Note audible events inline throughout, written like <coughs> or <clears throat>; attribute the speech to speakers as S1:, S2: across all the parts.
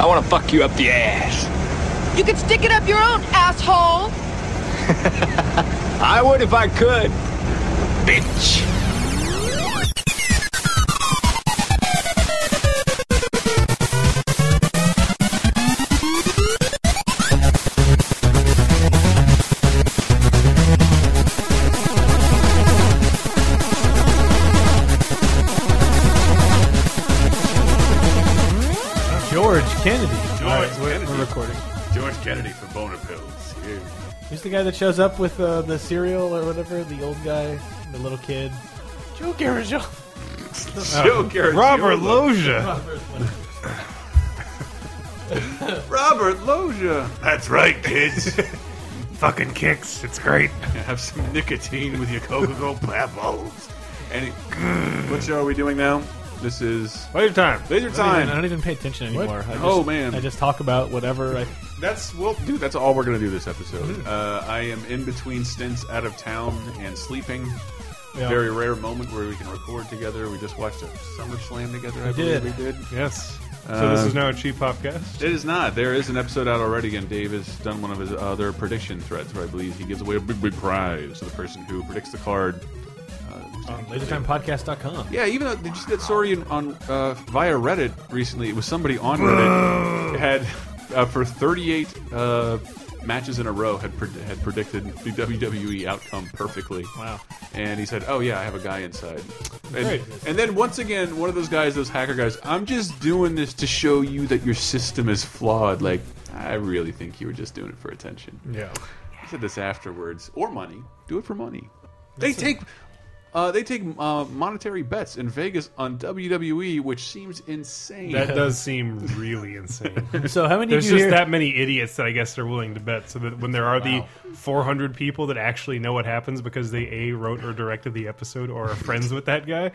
S1: I want to fuck you up the ass.
S2: You can stick it up your own asshole.
S1: I would if I could. Bitch.
S3: George Kennedy. All right, we're,
S4: Kennedy.
S3: we're recording.
S4: George Kennedy for boner pills. Yeah.
S3: Who's the guy that shows up with uh, the cereal or whatever? The old guy, the little kid. Joe Garagel.
S4: Joe Garagiola.
S5: Robert Loja.
S4: Robert Loja. That's right, kids.
S5: Fucking kicks. It's great.
S4: Have some nicotine with your Coca-Cola pebbles. And it- what show are we doing now? This is
S5: Later time.
S4: Laser
S3: I don't even- I
S4: Time.
S3: don't even pay attention anymore. I just,
S4: Oh, man.
S3: I just talk about whatever. I,
S4: That's well, dude. That's all we're gonna do this episode. Uh, I am in between stints out of town and sleeping.
S3: Yeah.
S4: Very rare moment where we can record together. We just watched a SummerSlam together. I
S3: did.
S4: believe we did.
S5: Yes.
S3: Uh,
S5: So this is now a cheap podcast.
S4: It is not. There is an episode out already, and Dave has done one of his other prediction threads where I believe he gives away a big, big prize to the person who predicts the card.
S3: on LaserTimePodcast.com.
S4: Yeah, even though did you see that story in, on uh, via Reddit recently? It was somebody on Reddit had uh, for 38 uh, matches in a row had pred had predicted the WWE outcome perfectly.
S3: Wow.
S4: And he said, "Oh yeah, I have a guy inside."
S3: Great.
S4: And, and then once again, one of those guys, those hacker guys, I'm just doing this to show you that your system is flawed. Like, I really think you were just doing it for attention.
S5: Yeah.
S4: He said this afterwards, or money. Do it for money. They take, uh, they take uh, monetary bets in Vegas on WWE, which seems insane. <laughs>
S5: That does seem
S3: <laughs>
S5: really insane.
S3: So how many
S5: There's
S3: of you
S5: just
S3: here?
S5: that many idiots that I guess are willing to bet. So that when there are the 400 people that actually know what happens because they a wrote or directed the episode or are friends with that guy,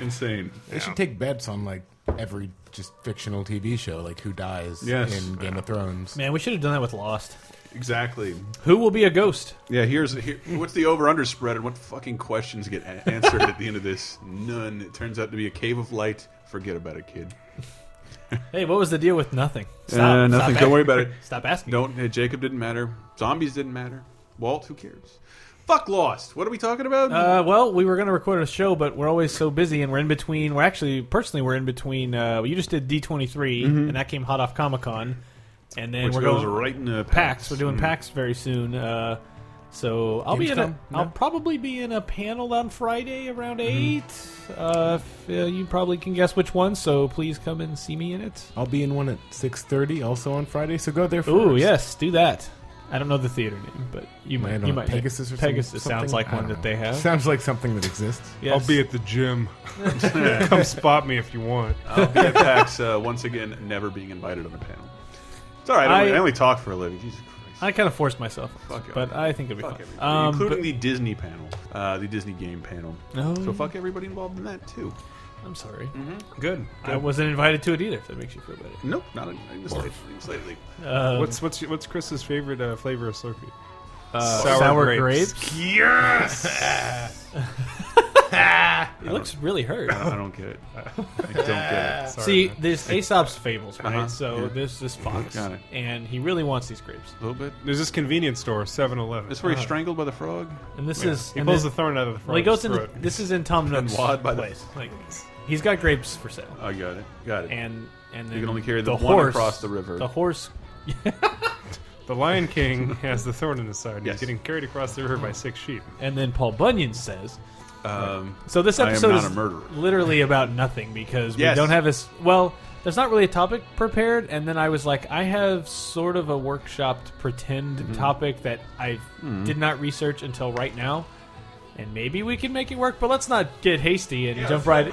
S4: insane.
S6: They should take bets on like every just fictional TV show, like who dies
S4: Yes.
S6: in Game of Thrones.
S3: Man, we should have done that with Lost.
S4: Exactly.
S3: Who will be a ghost?
S4: Yeah. Here's here, what's the over under spread, and what fucking questions get a- answered at the end of this? None. It turns out to be a cave of light. Forget about it, kid.
S3: Hey, what was the deal with nothing? Stop.
S4: Uh, nothing.
S3: Stop
S4: Don't
S3: a-
S4: worry about it.
S3: <laughs> Stop asking.
S4: Don't. uh, Jacob didn't matter. Zombies didn't matter. Walt, who cares? Fuck Lost. What are we talking about?
S3: Uh, well, we were going to record a show, but we're always so busy, and we're in between. We're actually personally we're in between. Uh, you just did D twenty three, and that came hot off Comic Con, and then
S4: Mm-hmm. which
S3: we're
S4: goes
S3: going
S4: right in the
S3: PAX. We're doing PAX very soon. Uh, so I'll be in. A,
S6: Hmm. Gamescom? Hmm.
S3: I'll probably be in a panel on Friday around eight. Uh, if, uh, you probably can guess which one, so please come and see me in it.
S6: I'll be in one at six thirty, also on Friday. So go there. First.
S3: Ooh, yes, do that. I don't know the theater name, but you
S6: I
S3: might.
S6: don't
S3: You
S6: know,
S3: might
S6: Pegasus or some-
S3: Pegasus
S6: something?
S3: sounds like
S6: I
S3: one
S6: don't
S3: that
S6: know.
S3: they have.
S6: Sounds like something
S3: <laughs>
S6: that exists.
S3: Yes.
S5: I'll be at
S3: <laughs>
S5: the gym. <laughs> Come spot me if you want.
S4: I'll be at PAX uh, once again, never being invited on a panel. It's all right. I, only-
S3: I-
S4: I only talk for a living. Jesus Christ.
S3: I kind of forced myself,
S4: Fuck it.
S3: but I think it'll be fun.
S4: fuck everybody,
S3: Um,
S4: including the Disney panel, uh, the Disney game panel.
S3: Oh.
S4: So fuck everybody involved in that too.
S3: but- I'm sorry,
S6: Mm-hmm.
S5: Good.
S3: I wasn't invited to it either. If that makes you feel better.
S4: Nope, not in, in this lately. in this lately.
S3: Um,
S5: What's what's what's Chris's favorite uh, flavor of Slurpee?
S3: Uh, sour, grapes. <laughs> It looks really hurt.
S4: I don't get it. I
S3: <laughs>
S4: don't get it.
S5: Sorry,
S3: See,
S5: man.
S3: there's Aesop's fables, right?
S4: Uh-huh,
S3: So
S4: yeah.
S3: there's this fox,
S4: Got it.
S3: and he really wants these grapes.
S4: A little bit.
S5: there's this convenience store, 7-Eleven.
S4: That's
S3: Uh.
S4: where he's strangled by the frog.
S3: And this is
S5: he
S3: and
S5: pulls the
S3: then-
S5: thorn out of the front.
S3: well, he goes in.
S5: throat.
S3: this is in
S4: <laughs>
S3: Tom Nook's
S4: Wad by the-
S3: place. Like, he's got grapes for sale,
S4: I got it. Got it.
S3: and and then
S4: can only carry
S3: the
S4: the one
S3: horse,
S4: across the river.
S3: The horse.
S5: The Lion King <laughs> has the thorn in his side. and
S4: Yes.
S5: He's getting carried across the river by six sheep.
S3: And then Paul Bunyan says,
S4: um,
S3: So this
S4: I am
S3: episode
S4: not
S3: is
S4: a murderer.
S3: literally about nothing because
S4: Yes.
S3: we don't have as well. There's not really a topic prepared, and then I was like, I have sort of a workshopped pretend
S4: Mm-hmm.
S3: topic that I did not research until right now, and maybe we can make it work. But let's not get hasty and jump right.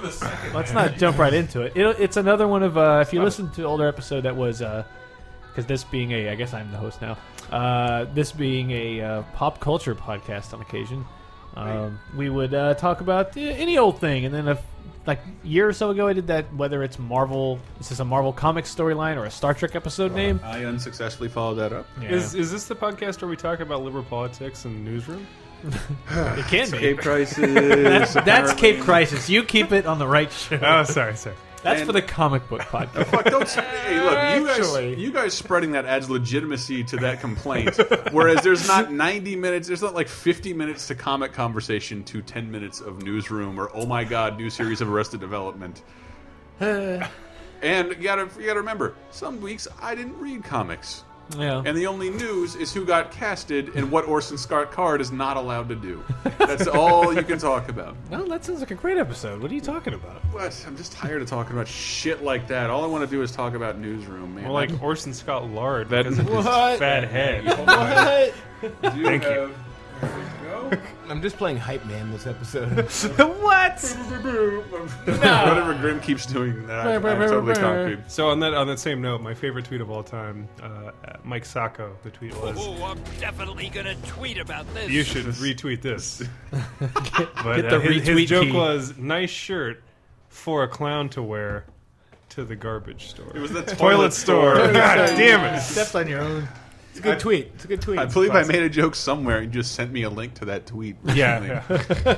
S3: let's not jump right into it. It'll, it's another one of uh,
S4: Oh.
S3: if you listen to older episode that was. Uh, because this being a, I guess I'm the host now. Uh, this being a uh, pop culture podcast on occasion, um, we would uh, talk about uh, any old thing. And then, if, like a year or so ago, I did that. Whether it's Marvel, is this a Marvel Comics storyline or a Star Trek episode name?
S4: I unsuccessfully followed that up.
S3: Yeah.
S5: Is is this the podcast where we talk about liberal politics in the newsroom?
S3: it can be. <laughs>
S4: Cape prices.
S3: That's Cape Crisis. You keep it on the right show.
S5: <laughs> Oh, sorry, sorry.
S3: That's
S4: And-
S3: for the comic book
S4: <laughs>
S3: podcast.
S4: Fuck, don't. sp- Hey, look, you
S3: Actually.
S4: guys, you guys spreading that adds legitimacy to that complaint. Whereas there's not 90 minutes, there's not like 50 minutes to comic conversation to 10 minutes of newsroom or oh my god, new series of Arrested Development. and you gotta, you gotta remember, some weeks I didn't read comics,
S3: yeah.
S4: and the only news is who got casted and what Orson Scott Card is not allowed to do. That's all you can talk about.
S5: No, that sounds like a great episode. What are you
S3: <laughs>
S5: talking about?
S4: What? I'm just tired of talking about shit like that. All I want to do is talk about newsroom, man.
S5: Well, like Orson Scott Lard
S4: That-
S5: because of his
S3: What?
S5: fat head.
S4: Thank
S5: you.
S4: <laughs>
S6: I'm just playing hype man this episode.
S5: what?
S4: Whatever Grim keeps doing, that I, I totally copied.
S5: So on that on that same note, my favorite tweet of all time, uh, Mike Sacco. The tweet was,
S7: Oh, I'm definitely gonna tweet about this.
S5: "You should
S3: <laughs>
S5: retweet this." but
S3: Get the
S5: uh, his, his
S3: retweet
S5: joke
S3: key.
S5: was, "Nice shirt for a clown to wear to the garbage store."
S4: It was the
S5: toilet
S4: toilet
S5: store.
S4: store. <laughs>
S5: God damn it!
S6: Stepped on your own. It's a good tweet. It's a good tweet.
S4: I believe I made a joke somewhere and just sent me a link to that tweet.
S5: Yeah, yeah.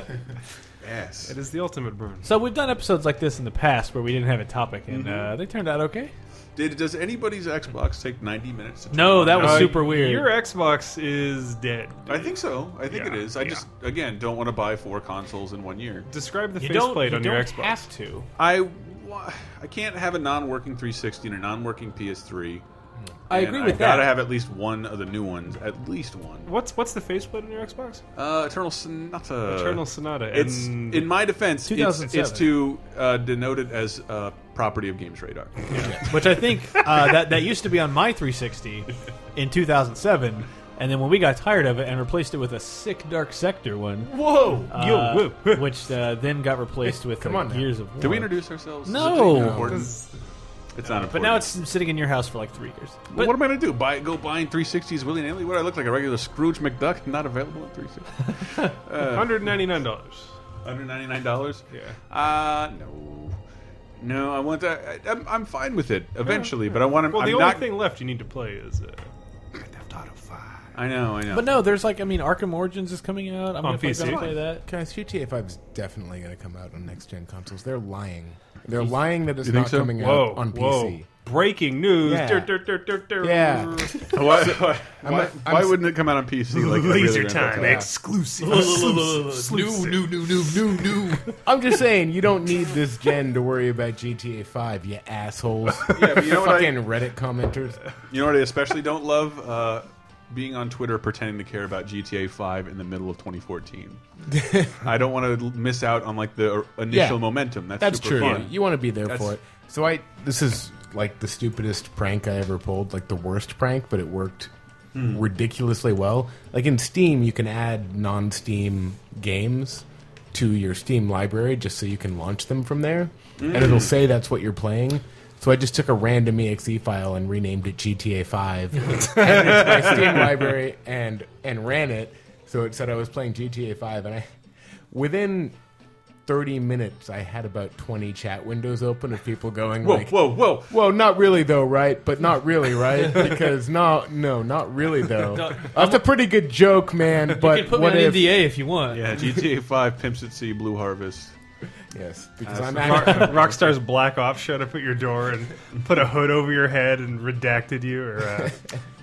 S4: Yes.
S5: it is the ultimate burn.
S3: So we've done episodes like this in the past where we didn't have a topic, and uh, they turned out okay.
S4: Did, does anybody's Xbox take 90 minutes to turn
S3: No, that
S4: on?
S3: was
S5: Uh,
S3: super weird.
S5: Your Xbox is dead.
S4: I think so. I think
S5: Yeah,
S4: it is. I
S5: yeah.
S4: just, again, don't want to buy four consoles in one year.
S5: Describe the
S3: you don't,
S5: faceplate
S3: you
S5: on
S3: don't
S5: your Xbox.
S3: have to.
S4: I, wa- I can't have a non working 360 and a non working PS3.
S3: I
S4: and
S3: agree with
S4: I
S3: that.
S4: gotta have at least one of the new ones. At least one.
S5: What's what's the faceplate on your Xbox?
S4: Uh, Eternal Sonata.
S5: Eternal Sonata.
S4: It's
S5: and
S4: in my defense. It's,
S3: 2007.
S4: it's to uh, denote it as uh, property of Games Radar.
S3: Which I think uh, that that used to be on my 360 in 2007, and then when we got tired of it and replaced it with a sick Dark Sector one,
S5: whoa,
S3: uh,
S5: <laughs> yo, <laughs> whoa.
S3: which uh, then got replaced with
S6: come
S3: uh,
S6: on now.
S3: Gears of War.
S4: Did we introduce ourselves? Is
S3: No.
S4: it important? It's not important.
S3: But now it's sitting in your house for like three years.
S4: Well, what am I going to do? Buy go buying 360s willy nilly? What I look like a regular Scrooge McDuck? Not available
S5: <laughs>
S4: at 360.
S5: Hundred ninety nine dollars.
S4: Under ninety nine dollars.
S5: Yeah.
S4: Uh no, no. I want that. I, I'm, I'm fine with it eventually, but I want to.
S5: Well,
S4: I'm
S5: the only
S4: not,
S5: thing left you need to play is uh,
S4: I know. I know.
S3: But no, there's like I mean, Arkham Origins is coming out. I'm
S5: On
S3: gonna fucking
S5: PC.
S3: play that.
S6: <laughs> Guys, GTA 5 is definitely going to come out on next gen consoles. They're lying. They're lying that it's
S4: think
S6: not
S4: so?
S6: coming
S5: whoa,
S6: out on
S5: whoa.
S6: PC.
S5: Breaking news.
S6: Yeah.
S5: Dur, dur, dur, dur, dur.
S6: Yeah.
S4: why? Why,
S6: I'm
S4: why,
S6: a- I'm-
S4: wouldn't it come out on PC? Like it really
S5: Laser
S4: ramped up
S5: time
S4: to-
S5: exclusive.
S6: New, new, new, new, new, new. I'm just saying, you don't need this gen to worry about GTA 5, you assholes.
S4: Yeah, but you know what I-
S6: Fucking Reddit commenters.
S4: You know what I especially don't love? Uh, being on Twitter pretending to care about GTA 5 in the middle of 2014. I don't want to miss out on like the uh, initial
S6: Yeah.
S4: momentum. That's,
S6: That's
S4: super
S6: true.
S4: Fun.
S6: You want to be there
S4: That's-
S6: for it. So I, this is like the stupidest prank I ever pulled, like the worst prank, but it worked Hmm. ridiculously well. Like in Steam, you can add non-Steam games to your Steam library just so you can launch them from there, and it'll say that's what you're playing. So I just took a random exe file and renamed it GTA <laughs> Five, and it's my Steam library, and and ran it. So it said I was playing GTA Five, and I within 30 minutes, I had about 20 chat windows open of people going
S4: whoa,
S6: like,
S4: whoa, whoa.
S6: "Well, not really though, right? But not
S4: <laughs>
S6: really, right? Because no, no, not
S3: <laughs>
S6: really though. That's a pretty good joke, man. But
S3: You can put
S6: what
S3: me on
S6: if?
S3: NDA if you want.
S4: Yeah, GTA 5, Pimps at Sea, Blue Harvest.
S6: Yes, because I'm
S5: Rock,
S6: actually,
S5: <laughs>
S4: <laughs>
S5: Rockstar's Black Ops shut up at your door and put a hood over your head and redacted you or
S3: <laughs>
S5: uh,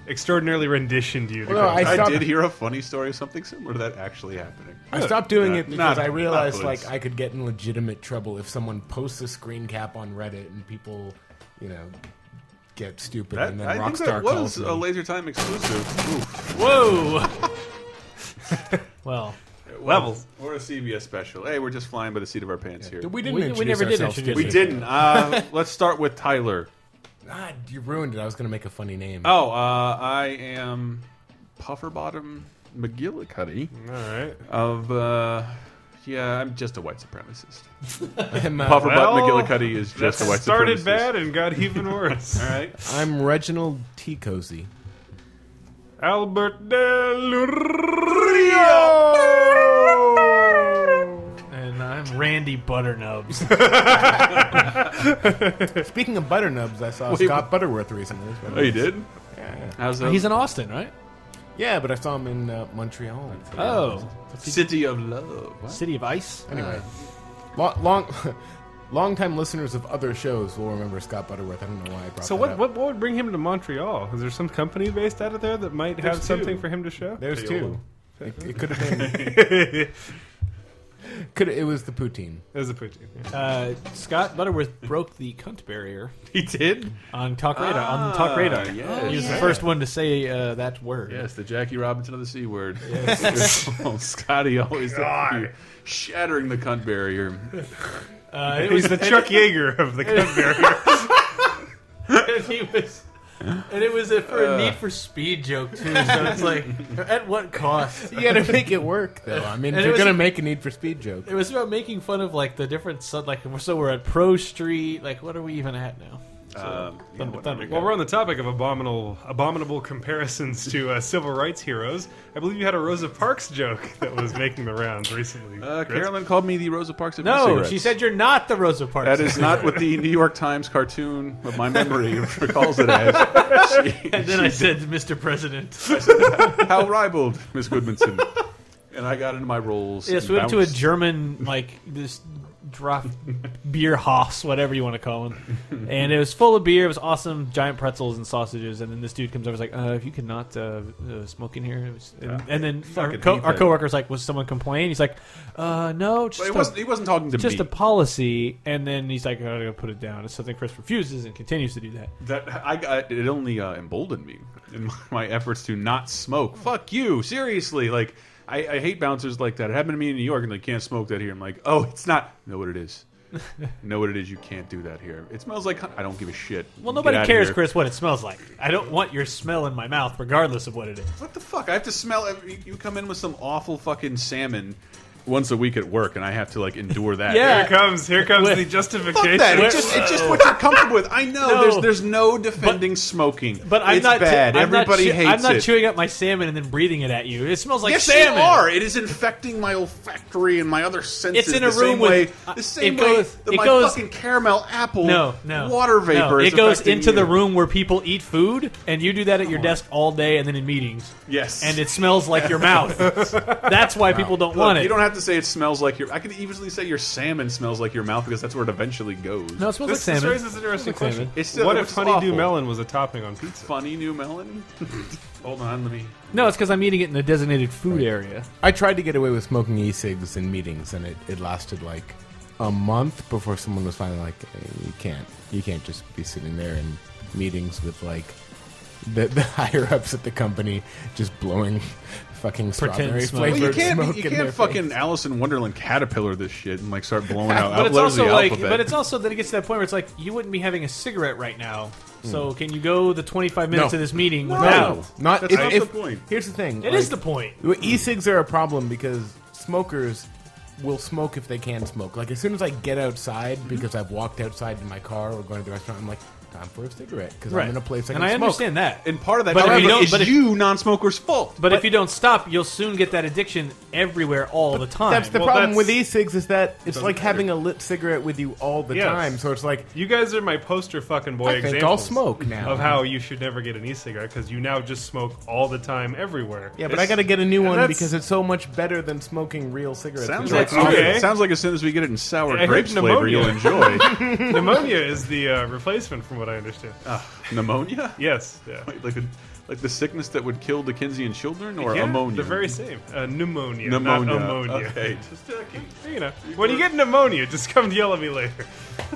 S5: extraordinarily renditioned you. To
S6: Well, no,
S5: go-
S6: I
S4: I,
S6: stopped-
S4: did hear a funny story of something similar to that actually happening.
S6: I stopped doing
S4: Not-
S6: it
S4: not-
S6: because I realized
S4: not
S6: like
S4: police.
S6: I could get in legitimate trouble if someone posts a screen cap on Reddit and people, you know, get stupid
S4: That,
S6: and then
S4: I think
S6: Rockstar
S4: that
S6: calls
S4: was
S6: me.
S4: a Laser Time exclusive. Oof.
S3: Whoa. well,
S5: Levels.
S4: Or a CBS special. Hey, we're just flying by the seat of our pants here.
S6: we didn't.
S3: We- we
S6: introduce
S3: never did
S6: ourselves to
S3: introduce
S4: we
S6: you.
S4: didn't. Uh, <laughs> let's start with Tyler.
S6: God, Ah, you ruined it. I was going to make a funny name. <laughs>
S4: Oh, uh, I am Pufferbottom McGillicuddy
S5: All right.
S4: of, uh, yeah, I'm just a white supremacist.
S6: I'm, uh,
S4: Pufferbottom
S5: Well,
S4: McGillicuddy is just a white
S5: started
S4: supremacist.
S5: bad and got even
S4: <laughs>
S5: worse.
S4: All right.
S6: I'm Reginald T. Cozy.
S5: Albert Del Rio.
S3: and I'm Randy Butternubs.
S6: Speaking of butter nubs, I saw
S4: Wait,
S6: Scott
S4: wh-
S6: Butterworth recently.
S4: Oh, you did? How's
S3: <laughs>
S4: that?
S3: He's in Austin, right?
S6: Yeah, but I saw him in uh, Montreal.
S3: Oh,
S4: City of Love. What?
S3: City of Ice. Uh,
S6: Anyway, long, <laughs> long Longtime listeners of other shows will remember Scott Butterworth. I don't know why I brought
S5: So
S6: that
S5: what,
S6: up.
S5: what what would bring him to Montreal? Is there some company based out of there that might
S4: There's
S5: have something
S4: two.
S5: for him to show?
S6: There's two.
S4: Payola.
S6: It, it could have been. could it was the poutine.
S5: There's a poutine. yeah.
S3: Uh, Scott Butterworth broke the cunt barrier
S4: <laughs> He did.
S3: on Talk Radar. on Talk Radar,
S4: Ah, yes.
S3: he was
S4: Yeah.
S3: the first one to say uh, that word.
S4: Yes, the Jackie Robinson of the C word. <laughs> Oh, Scotty always shattering the cunt barrier.
S3: <laughs> Uh, it was
S5: He's the Chuck Yeager of
S4: <laughs>
S5: the Cudbear.
S3: and he was, and it was a, for a Need for Speed joke too. So it's like, <laughs> at what <laughs> cost?
S6: You got to make it work, though. I mean,
S3: And
S6: if
S3: it
S6: you're
S3: was-
S6: gonna make a Need for Speed joke,
S3: It was about making fun of like the different sub. Like, so we're at Pro Street. Like, what are we even at now?
S4: Um, yeah,
S3: Thunder-
S4: whatever.
S3: Thunder.
S5: While we're on the topic of abominable abominable comparisons to uh, civil rights heroes, I believe you had a Rosa Parks joke <laughs> that was making the rounds recently.
S4: Uh,
S5: Chris.
S4: Carolyn called me the Rosa Parks of
S3: No,
S4: e-cigarettes.
S3: she said you're not the Rosa Parks.
S4: That is not what the New York Times cartoon of my memory recalls it as. She-
S3: <laughs> <laughs> And then I said, Mr. President.
S4: how ribald, Miss Goodmanson. And I got into my roles.
S3: Yes,
S4: and
S3: we went to a
S4: bounced.
S3: German like this
S4: <laughs>
S3: draft beer hoss, whatever you want to call him, and it was full of beer. It was awesome, giant pretzels and sausages. And then this dude comes over, and is like, uh, "If you cannot uh, uh, smoke in here," it was, and, and then our,
S4: fucking
S3: co-
S4: hate
S3: our
S4: that.
S3: coworker's like, "Was someone complaining?" He's like, "Uh, no,
S4: But
S3: just
S4: he
S3: a-
S4: wasn't, he wasn't talking to
S3: just
S4: me.
S3: a policy." And then he's like, "I gotta put it down." It's something Chris refuses and continues to do that.
S4: that I got, it only uh, emboldened me in my, my efforts to not smoke. Fuck you, seriously. Like I, I hate bouncers like that. It happened to me in New York, and they can't smoke that here. I'm like, oh, it's not. Know what
S3: <laughs>
S4: it is. know what it is. You can't do that here. It smells like. I don't give a shit.
S3: Well,
S4: Get
S3: nobody
S4: outta
S3: cares,
S4: here.
S3: Chris, what it smells like. I don't want your smell in my mouth, regardless of what it is.
S4: What the fuck? I have to smell. Every, you come in with some awful fucking salmon once a week at work, and I have to like endure that.
S3: Yeah.
S5: Here comes here comes the
S4: Fuck
S5: justification.
S4: that! It's just, it's just what you're comfortable with. I know
S3: No.
S4: there's there's no defending smoking,
S3: But I'm
S4: it's
S3: not
S4: bad.
S3: I'm not
S4: Everybody
S3: chew-
S4: hates
S3: I'm not
S4: it.
S3: chewing up my salmon and then breathing it at you. It smells like
S4: yes,
S3: salmon.
S4: you are. It is infecting my olfactory and my other senses.
S3: It's in a
S4: the
S3: room
S4: same
S3: with-
S4: way,
S3: uh,
S4: the same
S3: it goes-
S4: way that
S3: it
S4: my
S3: goes-
S4: fucking caramel apple
S3: No, no.
S4: water vapor.
S3: No,
S4: is
S3: it goes
S4: affecting
S3: into
S4: you.
S3: the room where people eat food, and you do that at your desk all day, and then in meetings.
S4: Yes,
S3: And it smells like your mouth.
S4: <laughs>
S3: That's why people don't
S4: Look,
S3: want it.
S4: you don't have to say it smells like your. I could easily say your salmon smells like your mouth because that's where it eventually goes.
S3: no, it smells
S5: This,
S3: like
S5: this
S3: salmon.
S5: raises an interesting question.
S4: It's still-
S5: what
S4: it's
S5: if honeydew
S4: awful.
S5: melon was a topping on pizza?
S4: funny new melon. Hold on, let me.
S3: No, it's because I'm eating it in a designated food area.
S6: I tried to get away with smoking e-cigs in meetings, and it, it lasted like a month before someone was finally like, "Eh, "You can't, you can't just be sitting there in meetings with like the, the <laughs> higher ups at the company just blowing fucking strawberry
S3: smoke.
S6: flavored
S4: Well, you can't,
S6: smoke
S4: you
S6: in
S4: can't
S6: their
S4: fucking
S6: face.
S4: Alice in Wonderland caterpillar this shit and like start
S5: <laughs>
S4: blowing out.
S3: But it's
S4: letters of
S3: also
S4: the
S3: like,
S4: alphabet.
S3: but it's also that it gets to that point where it's like you wouldn't be having a cigarette right now. So can you go the 25 minutes
S6: No.
S3: of this meeting
S4: Hmm. No.
S3: without?
S6: Not
S4: That's
S6: if,
S4: not
S6: if-
S4: the point.
S6: Here's the thing.
S3: It is the point.
S6: Well, E-cigs are a problem because smokers will smoke if they can smoke. Like as soon as I get outside, because I've walked outside to my car or going to the restaurant, I'm like, time for a cigarette because
S3: Right.
S6: I'm in a place I
S3: and I
S6: can smoke.
S3: understand that.
S4: and part of that
S3: But if you
S4: however,
S3: don't-
S4: is
S3: but if-
S4: you non-smokers' fault.
S3: But, if you don't stop, you'll soon get that addiction everywhere all the time.
S6: That's the
S5: Well,
S6: problem
S5: that's-
S6: with e-cigs is that it's like
S4: matter.
S6: having a lit cigarette with you all the
S5: Yes.
S6: time. So it's like
S5: You guys are my poster fucking boy
S6: I think
S5: examples
S6: I'll smoke now.
S5: of how you should never get an e-cigarette because you now just smoke all the time everywhere.
S6: yeah, but I got to get a new one
S5: that's-
S6: because it's so much better than smoking real cigarettes.
S4: Sounds
S6: which are
S4: like
S5: That's okay.
S4: it sounds like as soon as we get it in sour
S5: I heard
S4: grapes flavor,
S5: pneumonia.
S4: you'll enjoy
S5: <laughs> pneumonia is the uh, replacement from what I understand.
S6: Ah.
S4: pneumonia.
S5: yes, yeah.
S4: Wait, like the, like the sickness that would kill Dickensian children, or
S5: Yeah,
S4: ammonia.
S5: The very same. Uh, pneumonia,
S4: pneumonia.
S5: not ammonia. uh,
S4: Okay,
S5: <laughs>
S4: just checking.
S5: You know, when you get pneumonia, just come yell at me later.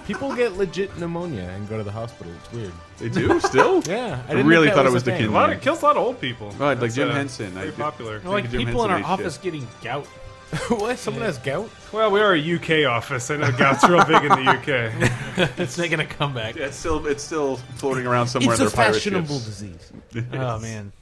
S6: People get legit pneumonia and go to the hospital. It's weird.
S4: They do
S5: <laughs>
S4: still.
S6: Yeah,
S4: I,
S6: I didn't
S4: really
S6: think that
S4: thought it
S6: was
S4: was
S6: a thing.
S5: A
S4: Dickensian.
S5: lot of kills a lot of old people.
S4: Hmm. Right, like
S5: That's, uh,
S4: Jim Henson. I
S5: Very
S4: did-
S5: popular.
S4: Well,
S3: like
S4: Jim
S3: people in our
S4: Henson ate
S3: office
S4: shit.
S3: getting gout.
S6: <laughs>
S3: <laughs>
S6: what? Someone has gout?
S5: Well, we are a UK office. I know gout's real big in
S6: <laughs>
S5: the UK.
S3: It's not gonna come back.
S4: Yeah, it's still it's still floating around somewhere. in their pirate ships. <laughs>
S6: disease.
S3: <laughs> Oh man.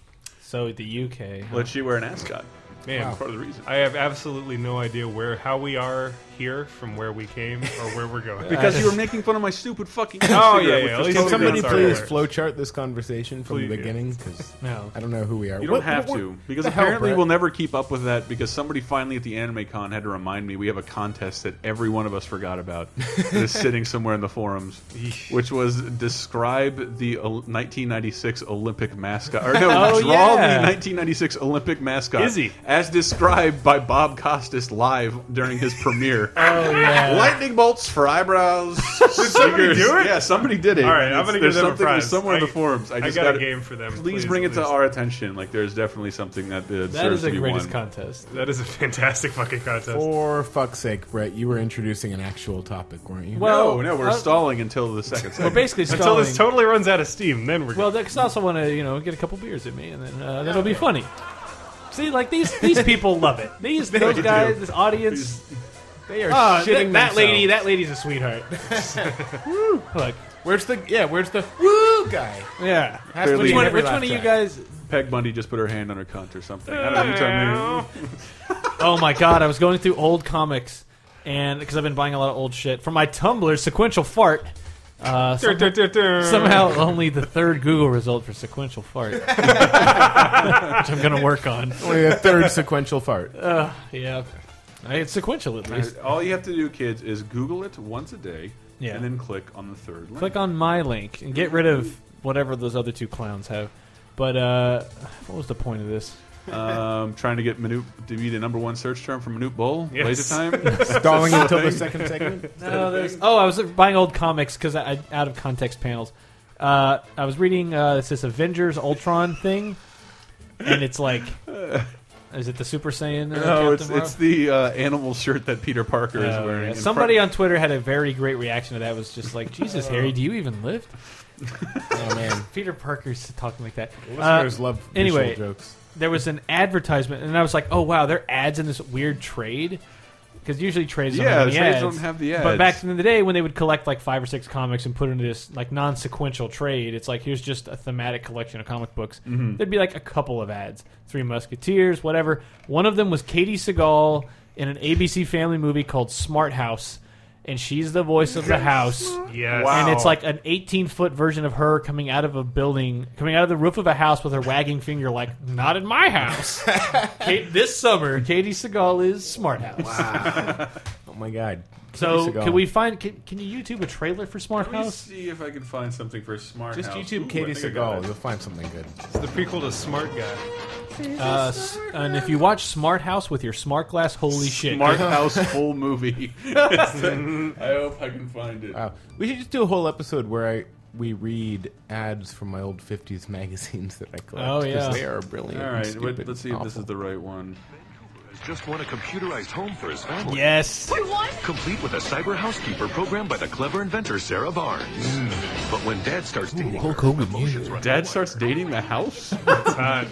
S3: So the UK. huh?
S4: Let you wear an ascot.
S5: Man,
S4: That's part of the reason.
S5: I have absolutely no idea where how we are here from where we came or where we're going.
S4: <laughs> Because you were making fun of my stupid fucking.
S5: Oh,
S4: cigarette,
S5: yeah, yeah,
S4: which was
S5: at least
S6: Can
S5: Totally
S6: somebody
S5: not sorry.
S6: please flowchart this conversation from
S5: Please,
S6: the
S5: yeah.
S6: beginning? Because
S3: No.
S6: I don't know who we are.
S4: You don't
S6: What-
S4: have
S6: what-
S4: to
S6: what
S4: because
S6: the hell,
S4: apparently
S6: Brett?
S4: we'll never keep up with that because somebody finally at the anime con had to remind me we have a contest that every one of us forgot about
S5: <laughs>
S4: that is sitting somewhere in the forums, which was describe the Ol- 1996 Olympic mascot
S5: <laughs>
S4: or no
S3: Oh,
S4: draw
S3: yeah.
S4: the 1996 Olympic mascot
S5: Izzy.
S4: as described by Bob Costas live during his
S5: <laughs>
S4: premiere Twitter.
S5: Oh,
S4: Lightning bolts for eyebrows. Did
S5: somebody do it?
S4: Yeah, somebody did it.
S5: All right, I'm
S4: It's-
S5: gonna give
S4: there's
S5: them a
S4: something there's
S5: prize.
S4: somewhere in
S5: I-
S4: the forums. I,
S5: I
S4: just
S5: got a
S4: gotta-
S5: game for them,
S4: Please,
S5: please,
S4: bring it
S5: at
S4: to
S5: least.
S4: our attention. Like there's definitely something that uh,
S3: That
S4: deserves
S3: is the
S4: to be
S3: greatest
S4: won.
S3: contest.
S5: That is a fantastic fucking contest.
S6: For fuck's sake, Brett, you were introducing an actual topic, weren't you?
S3: Well,
S4: No, no, we're
S3: uh,
S4: stalling until the second.
S3: We're
S4: segment.
S3: basically stalling.
S5: Until this totally runs out of steam, then we're
S3: well, because I also want to, you know, get a couple beers at me, and then uh, that'll be funny. See, like these these people love it. These those
S4: do.
S3: guys, this audience, they are
S6: Ah,
S3: shitting
S6: that-
S3: that
S6: that
S3: lady.
S6: lady-
S3: That lady's a sweetheart. <laughs> Look,
S6: where's the yeah? Where's the woo guy?
S3: yeah.
S6: Has to
S4: Clearly-
S6: be
S3: Which
S6: in
S3: one,
S6: every
S3: which one of you
S6: laugh track.
S3: guys?
S4: Peg Bundy just put her hand on her cunt or something. I don't know. You tell me.
S3: Oh my god, I was going through old comics, and because I've been buying a lot of old shit for my Tumblr, sequential fart. Uh, some- somehow only the third Google result for sequential fart, which I'm gonna work on.
S6: Only
S4: <laughs>
S6: a third sequential fart.
S3: Yeah, I, it's sequential at least.
S4: <laughs> All you have to do, kids, is Google it once a day,
S3: Yeah.
S4: and then click on the third link.
S3: Click on my link and get rid of whatever those other two clowns have. But uh, what was the point of this?
S4: Um, trying to get Manute to be the number one search term for Manute Bowl.
S5: Yes.
S3: <laughs>
S4: Laser time.
S6: Stalling until the second segment.
S3: No, there's- oh, I was buying old comics because I, I out of context panels. Uh, I was reading uh, it's this Avengers Ultron thing, and it's like, is it the Super Saiyan? Uh,
S4: no, it's
S3: Captain Marvel?
S4: it's the uh, animal shirt that Peter Parker is
S3: Oh,
S4: wearing.
S3: yeah.
S4: in
S3: Somebody
S4: front-
S3: on Twitter had a very great reaction to that. It was just like, Jesus, Harry, do you even
S4: <laughs>
S3: live?
S6: Oh man,
S3: Peter Parker's talking like that. Uh,
S6: listeners love
S3: anyway.
S6: visual jokes.
S3: there was an advertisement, and I was like, "Oh wow, there are ads in this weird trade." Because usually trades don't
S4: Yeah,
S3: have any
S4: trades
S3: ads.
S4: don't have the
S3: But
S4: ads.
S3: back in the day, when they would collect like five or six comics and put into this like non-sequential trade, it's like here's just a thematic collection of comic books.
S4: Mm-hmm.
S3: There'd be like a couple of ads, Three Musketeers, whatever. One of them was Katie Seagal in an ABC Family movie called Smart House, and she's the voice of the house.
S5: yes.
S4: Wow.
S3: And it's like an 18 foot version of her coming out of a building, coming out of the roof of a house with her wagging finger, like, not in my <laughs> house. Kate, this summer, Katie Seagal is Smart House.
S6: Oh my god.
S3: So,
S6: Katie Sagal.
S3: can we find, can, can you YouTube a trailer for Smart
S4: Let me
S3: House?
S4: see if I can find something for Smart
S6: Just
S4: House.
S6: YouTube
S4: Ooh,
S6: Katie
S4: I think I got
S6: Seagal.
S4: it.
S6: You'll find something good.
S5: It's the prequel to Smart Guy.
S3: Uh, s- and if you watch Smart House with your smart glass, holy shit.
S4: <laughs> Smart House full <laughs> movie. I hope I can find it.
S6: Wow. We should just do a whole episode where I we read ads from my old '50s magazines that I collect.
S3: Oh, yeah.
S6: 'cause they are brilliant.
S4: All
S6: and
S4: right,
S6: stupid
S4: wait, let's see
S6: and
S4: if this
S6: awful.
S4: is the right one.
S8: just won a computerized home for his family.
S3: Yes.
S2: We won?
S8: Complete with a cyber housekeeper programmed by the clever inventor Sarah Barnes. But when Dad starts dating her, emotions run
S4: Dad
S8: wild.
S4: starts dating the house.
S5: It's hot.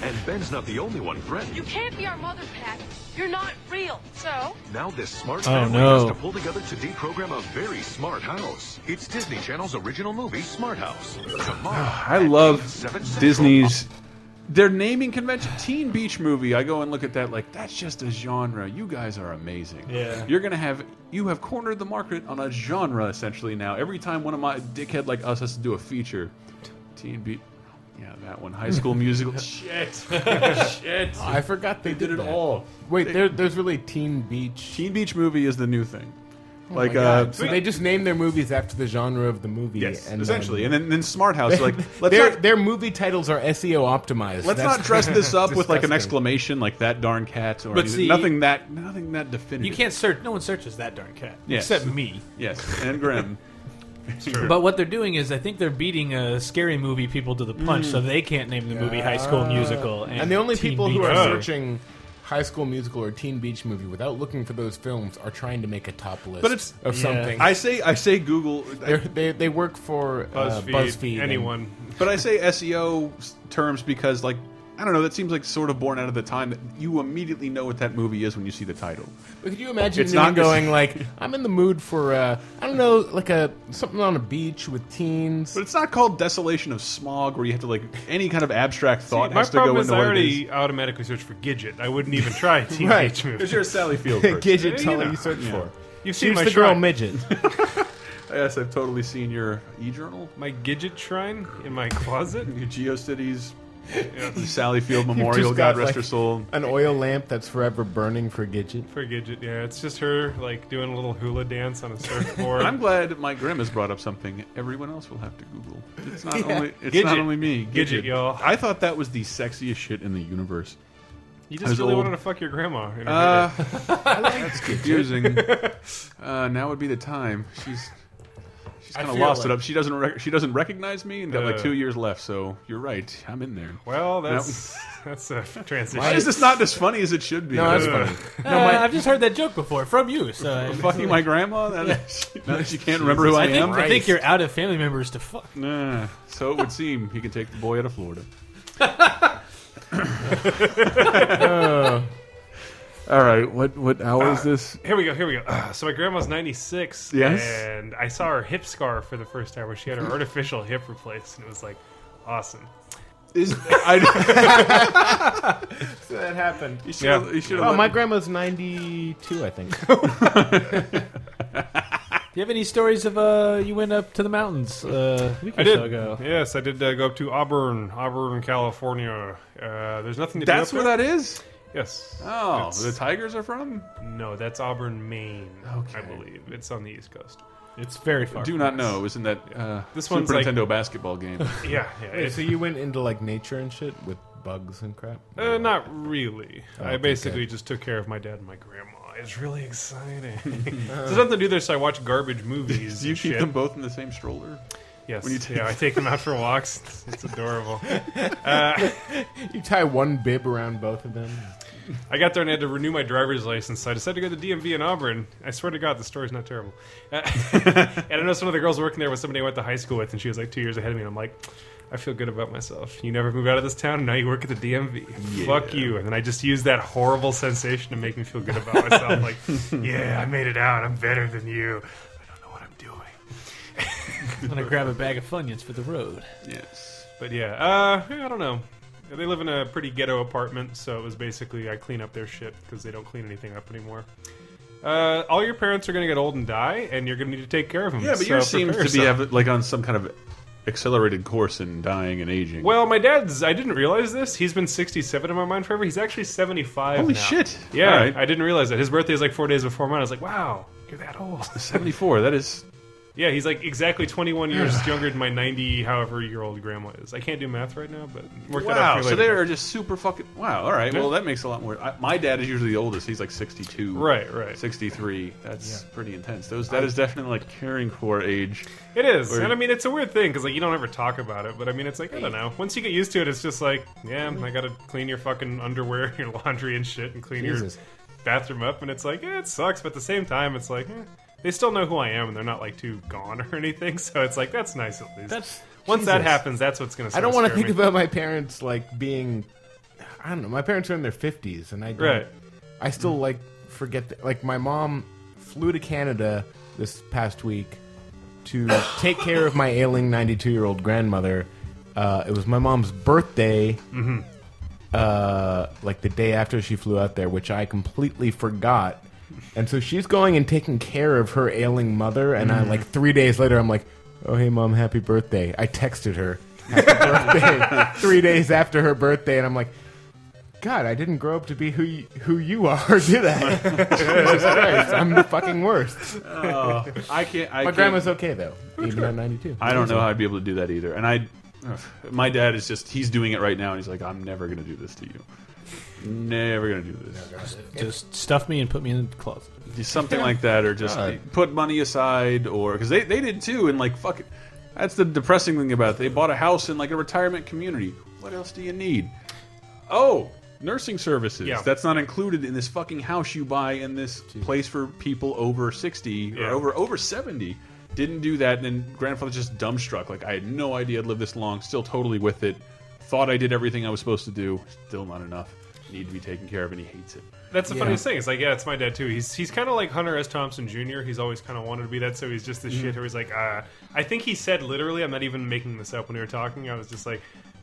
S8: and Ben's not the only one
S2: You
S8: threatened.
S2: can't be our mother, Pat. You're not real. So?
S8: Now this smart
S3: Oh,
S8: family
S3: no.
S8: has to pull together to deprogram a very smart house. It's Disney Channel's original movie, Smart House. Tomorrow.
S4: I love
S8: Seven Central.
S4: Disney's their naming convention. Teen Beach Movie. I go and look at that like that's just a genre. You guys are amazing.
S3: Yeah.
S4: You're gonna have you have cornered the market on a genre essentially now. Every time one of my dickhead like us has to do a feature, Teen Beach. Yeah, that one. High School <laughs> Musical. Shit. Shit.
S6: I forgot they,
S4: did it
S6: that.
S4: all.
S6: Wait, there, there's really Teen Beach.
S4: Teen Beach Movie is the new thing.
S6: Oh
S4: Like
S6: my God.
S4: uh,
S6: so they just name their movies after the genre of the movie.
S4: yes,
S6: and
S4: essentially,
S6: <laughs> then-
S4: and then, then Smart House.
S6: <laughs>
S4: Like let's
S6: their
S4: not-
S6: their movie titles are SEO optimized.
S4: Let's
S6: That's-
S4: not
S6: <laughs>
S4: dress this up with like an
S6: disgusting.
S4: exclamation, like that darn cat, or
S3: But
S4: anything.
S3: see-
S4: nothing that nothing that definitive.
S3: You can't search, no one searches that darn cat.
S4: Yes.
S3: Except me.
S4: Yes, and
S6: <laughs>
S4: Grim. <laughs>
S3: But what they're doing is, I think they're beating uh, scary movie people to the punch, so they can't name the movie High School Musical. Mm. And,
S6: And the only
S3: Teen
S6: people who
S3: Beach
S6: are
S3: Movie.
S6: searching High School Musical or Teen Beach Movie without looking for those films are trying to make a top list
S4: But it's-
S6: of
S3: Yeah.
S6: something.
S4: I say I say Google,
S6: They're- they they work for uh,
S5: BuzzFeed,
S6: BuzzFeed. and-
S5: anyone.
S4: but I say SEO s- terms because like I don't know. That seems like sort of born out of the time that you immediately know what that movie is when you see the title.
S6: But could you imagine
S4: It's
S6: them
S4: not just-
S6: going like, I'm in the mood for uh, I don't know, like a something on a beach with teens.
S4: But it's not called Desolation of Smog, where you have to like any kind of abstract thought
S5: My
S4: has to go
S5: problem is
S4: into
S5: I
S4: what it
S5: already
S4: is.
S5: automatically searched for Gidget. I wouldn't even
S4: <laughs>
S5: try Teen
S6: Right.
S5: Beach Movie.
S4: Because you're a Sally
S6: <laughs>
S4: Field person.
S6: Gidget's
S5: Yeah, you
S6: all
S5: know.
S6: you search
S4: Yeah.
S6: for.
S5: You've seen
S6: She's
S5: my
S6: the girl
S5: shrine.
S6: midget. <laughs>
S4: Yes, I've totally seen your e-journal,
S5: my Gidget shrine in my closet.
S4: your GeoCities, Sally Field Memorial,
S6: You've just
S4: God
S6: got,
S4: rest
S6: like,
S4: her soul.
S6: An oil lamp that's forever burning for Gidget.
S5: For Gidget, yeah, it's just her like doing a little hula dance on a surfboard.
S4: <laughs> I'm glad Mike Grimm has brought up something everyone else will have to Google. It's not only it's
S5: Gidget.
S4: not only me.
S5: Gidget, y'all.
S4: I thought that was the sexiest shit in the universe.
S5: You
S4: I
S5: just
S4: was
S5: really
S4: old.
S5: wanted to fuck your grandma. and I
S4: Uh,
S5: did.
S4: that's confusing. uh, now would be the time. She's she's kind of
S3: feel
S4: lost it
S3: like-
S4: up. She doesn't rec she doesn't recognize me and got like
S5: Uh.
S4: two years left. So you're right. I'm in there.
S5: well, that's that's
S4: <laughs>
S5: a transition.
S4: Why is this not as funny as it should be?
S6: No, that's
S4: Uh,
S6: funny.
S3: Uh, I've just heard that joke before from you. So I,
S4: Fucking my grandma. Now that she, now that <laughs> she can't remember who I,
S3: I think
S4: am.
S3: I think you're out of family members to fuck.
S4: Nah. so it would seem he can take the boy out of Florida. <laughs> All right. What what hour is this?
S5: Here we go. Here we go. Ah, so my grandma's 96.
S4: Yes?
S5: And I saw her hip scar for the first time where she
S4: <laughs>
S5: had her artificial hip replaced, and it was like awesome.
S4: Is <laughs> I,
S6: That happened.
S4: you should have.
S6: Oh, my grandma's 92, I think.
S3: Do you have any stories of uh, you went up to the mountains uh, a week or
S5: I did.
S3: so ago?
S5: Yes, I did uh, go up to Auburn, Auburn, California. Uh, there's nothing to
S4: That's
S5: do.
S4: where
S5: up there.
S4: that is.
S5: Yes.
S4: Oh,
S5: It's-
S4: the Tigers are from?
S5: no, that's Auburn, Maine.
S4: Okay.
S5: I believe it's on the East Coast.
S3: It's very far.
S4: Do not know. It was in that uh,
S5: This
S4: Super
S5: one's like-
S4: Nintendo basketball <laughs> game.
S5: Yeah, yeah. It's,
S6: so you went into like nature and shit with bugs and crap?
S5: uh, not really. I
S4: Oh,
S6: okay,
S5: basically
S6: good.
S5: just took care of my dad and my grandma. It's really
S4: <laughs>
S5: exciting. There's nothing to do there, so I watch garbage movies.
S4: Do <laughs> you
S5: and
S4: keep
S5: shit.
S4: them both in the same stroller?
S5: Yes.
S4: When you take-
S5: yeah, I take them out for walks. It's,
S4: <laughs>
S5: it's adorable.
S6: You tie one bib around both of them.
S5: I got there and I had to renew my driver's license, so I decided to go to the DMV in Auburn. I swear to God, the story's not terrible. <laughs> Uh, and I know some of the girls working there was somebody I went to high school with, and she was like two years ahead of me, and I'm like, I feel good about myself. You never move out of this town, and now you work at the DMV. Fuck you. And then I just used that horrible sensation to make me feel good about myself. like, yeah, I made it out. I'm better than you. I don't know what I'm doing.
S3: I'm gonna grab a bag of Funyuns for the road.
S4: Yes.
S5: But yeah, uh, yeah, I don't know. They live in a pretty ghetto apartment, so it was basically I clean up their shit because they don't clean anything up anymore. Uh, all your parents are going to get old and die, and you're going to need to take care of them.
S4: Yeah, but
S5: so
S4: yours seems
S5: prepare
S4: to be
S5: yourself.
S4: have, like on some kind of accelerated course in dying and aging.
S5: Well, my dad's. I didn't realize this. He's been 67 in my mind forever. He's actually 75.
S4: holy
S5: now.
S4: shit!
S5: Yeah,
S4: All right.
S5: I didn't realize that. His birthday is like four days before mine. I was like, wow, you're that old. <laughs>
S4: seventy-four. That is.
S5: yeah, he's like exactly 21
S4: <sighs>
S5: years younger than my 90 however year old grandma is. I can't do math right now, but work that out.
S4: Wow,
S5: for
S4: so
S5: later.
S4: they are just super fucking. Wow, all right. Well,
S5: Yeah.
S4: that makes a lot more. I, my dad is usually the oldest. He's like 62.
S5: Right, right.
S4: 63. That's pretty intense. Those That is definitely like caring for age.
S5: It is,
S4: Or-
S5: and I mean it's a weird thing because like you don't ever talk about it, but I mean it's like I don't know. Once you get used to it, it's just like yeah, I gotta clean your fucking underwear, <laughs> your laundry and shit, and clean
S6: Jesus.
S5: your bathroom up, and it's like yeah, it sucks, but at the same time, it's like eh, they still know who I am, and they're not like too gone <laughs> or anything, so it's like that's nice at least.
S3: That's-
S5: once that
S6: Jesus.
S5: happens, that's what's gonna.
S6: I
S5: Start
S6: don't want to
S5: scare
S6: think
S5: me.
S6: about my parents like being. I don't know. My parents are in their 50s, and I don't-
S5: right.
S6: I still like forget that. Like my mom flew to Canada this past week to take care of my ailing 92 year old grandmother. Uh, it was my mom's birthday, uh, like the day after she flew out there, which I completely forgot. And so she's going and taking care of her ailing mother, and I like three days later, I'm like, "Oh hey mom, happy birthday!" I texted her happy <laughs> birthday three days after her birthday, and I'm like, God, I didn't grow up to be who you, who you are, <laughs> did I? Jesus Christ, I'm the fucking worst.
S4: I can't. I
S6: My
S4: can't-
S6: grandma's okay though, even at 92.
S4: I don't know how I'd be able to do that either. And I, ugh, my dad is just he's doing it right now, and he's like, I'm never gonna do this to you. Never gonna do this.
S3: Just stuff me and put me in the closet.
S4: Just something like that, or just
S6: God.
S4: put money aside, or because they they did too, and like fuck. It. That's the depressing thing about it. They bought a house in like a retirement community. What else do you need? Oh, nursing services.
S5: Yeah.
S4: That's not included in this fucking house you buy in this place for people over sixty or
S5: Yeah.
S4: over over seventy. Didn't do that, and then grandfather's just dumbstruck. Like I had no idea I'd live this long. Still totally with it. Thought I did everything I was supposed to do. Still not enough. Need to be taken care of, and he hates it.
S5: That's the funniest thing. It's like, yeah, it's my dad too. He's he's kind of like Hunter S. Thompson Jr. He's always kind of wanted to be that, so he's just this shit where he's like, uh, I think he said literally, I'm not even making this up when we were talking. I was just like,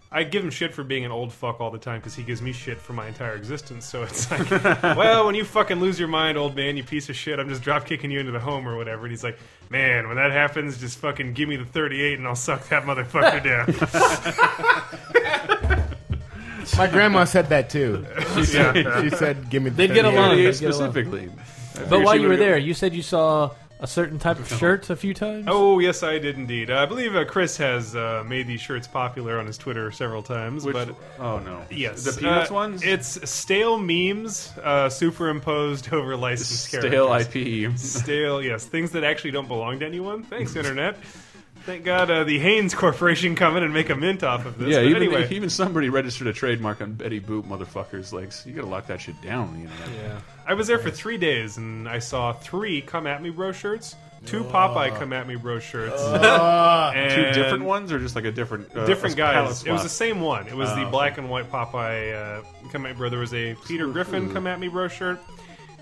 S5: I give him shit for being an old fuck all the time because he gives me shit for my entire existence. So it's like, well, when you fucking lose your mind, old man, you piece of shit, I'm just drop kicking you into the home or whatever. And he's like, man, when that happens, just fucking give me the 38 and I'll suck that motherfucker down.
S6: My grandma said
S3: <laughs>
S6: that too. She
S4: <laughs>
S6: said,
S5: Yeah.
S6: she said "Give me." The
S3: They'd get
S6: 38."
S3: along.
S4: Thirty-eight
S3: Let's get along.
S4: specifically.
S3: But while you were there, you said you saw a certain type of shirt a few times.
S5: Oh yes, I did indeed. I believe uh, Chris has uh, made these shirts popular on his Twitter several times.
S4: Which,
S5: but
S4: oh no,
S5: yes,
S4: the peanuts
S5: uh,
S4: ones.
S5: It's stale memes uh, superimposed <laughs> over licensed
S4: stale
S5: characters. <laughs>
S4: IP.
S5: Stale, yes, things that actually don't belong to anyone.
S4: Hmm.
S5: Thanks, internet. Thank God uh, the Haynes Corporation <laughs> come in and make a mint off of this.
S4: Yeah,
S5: but
S4: even,
S5: anyway,
S4: even somebody registered a trademark on Betty Boop, motherfuckers. Like, you gotta lock that shit down on the internet.
S5: Yeah. I was there for three days and I saw three Come At Me Bro shirts, two Popeye Come At Me Bro
S4: <laughs>
S5: shirts. <laughs>
S4: Two
S5: and
S4: different ones, or just like a different uh,
S5: Different
S4: a palette
S5: guys. It was the
S4: swap? Oh.
S5: same one. It was the black and white Popeye uh, Come At Me Bro. There was a Peter Griffin
S4: <laughs>
S5: Come At Me Bro shirt.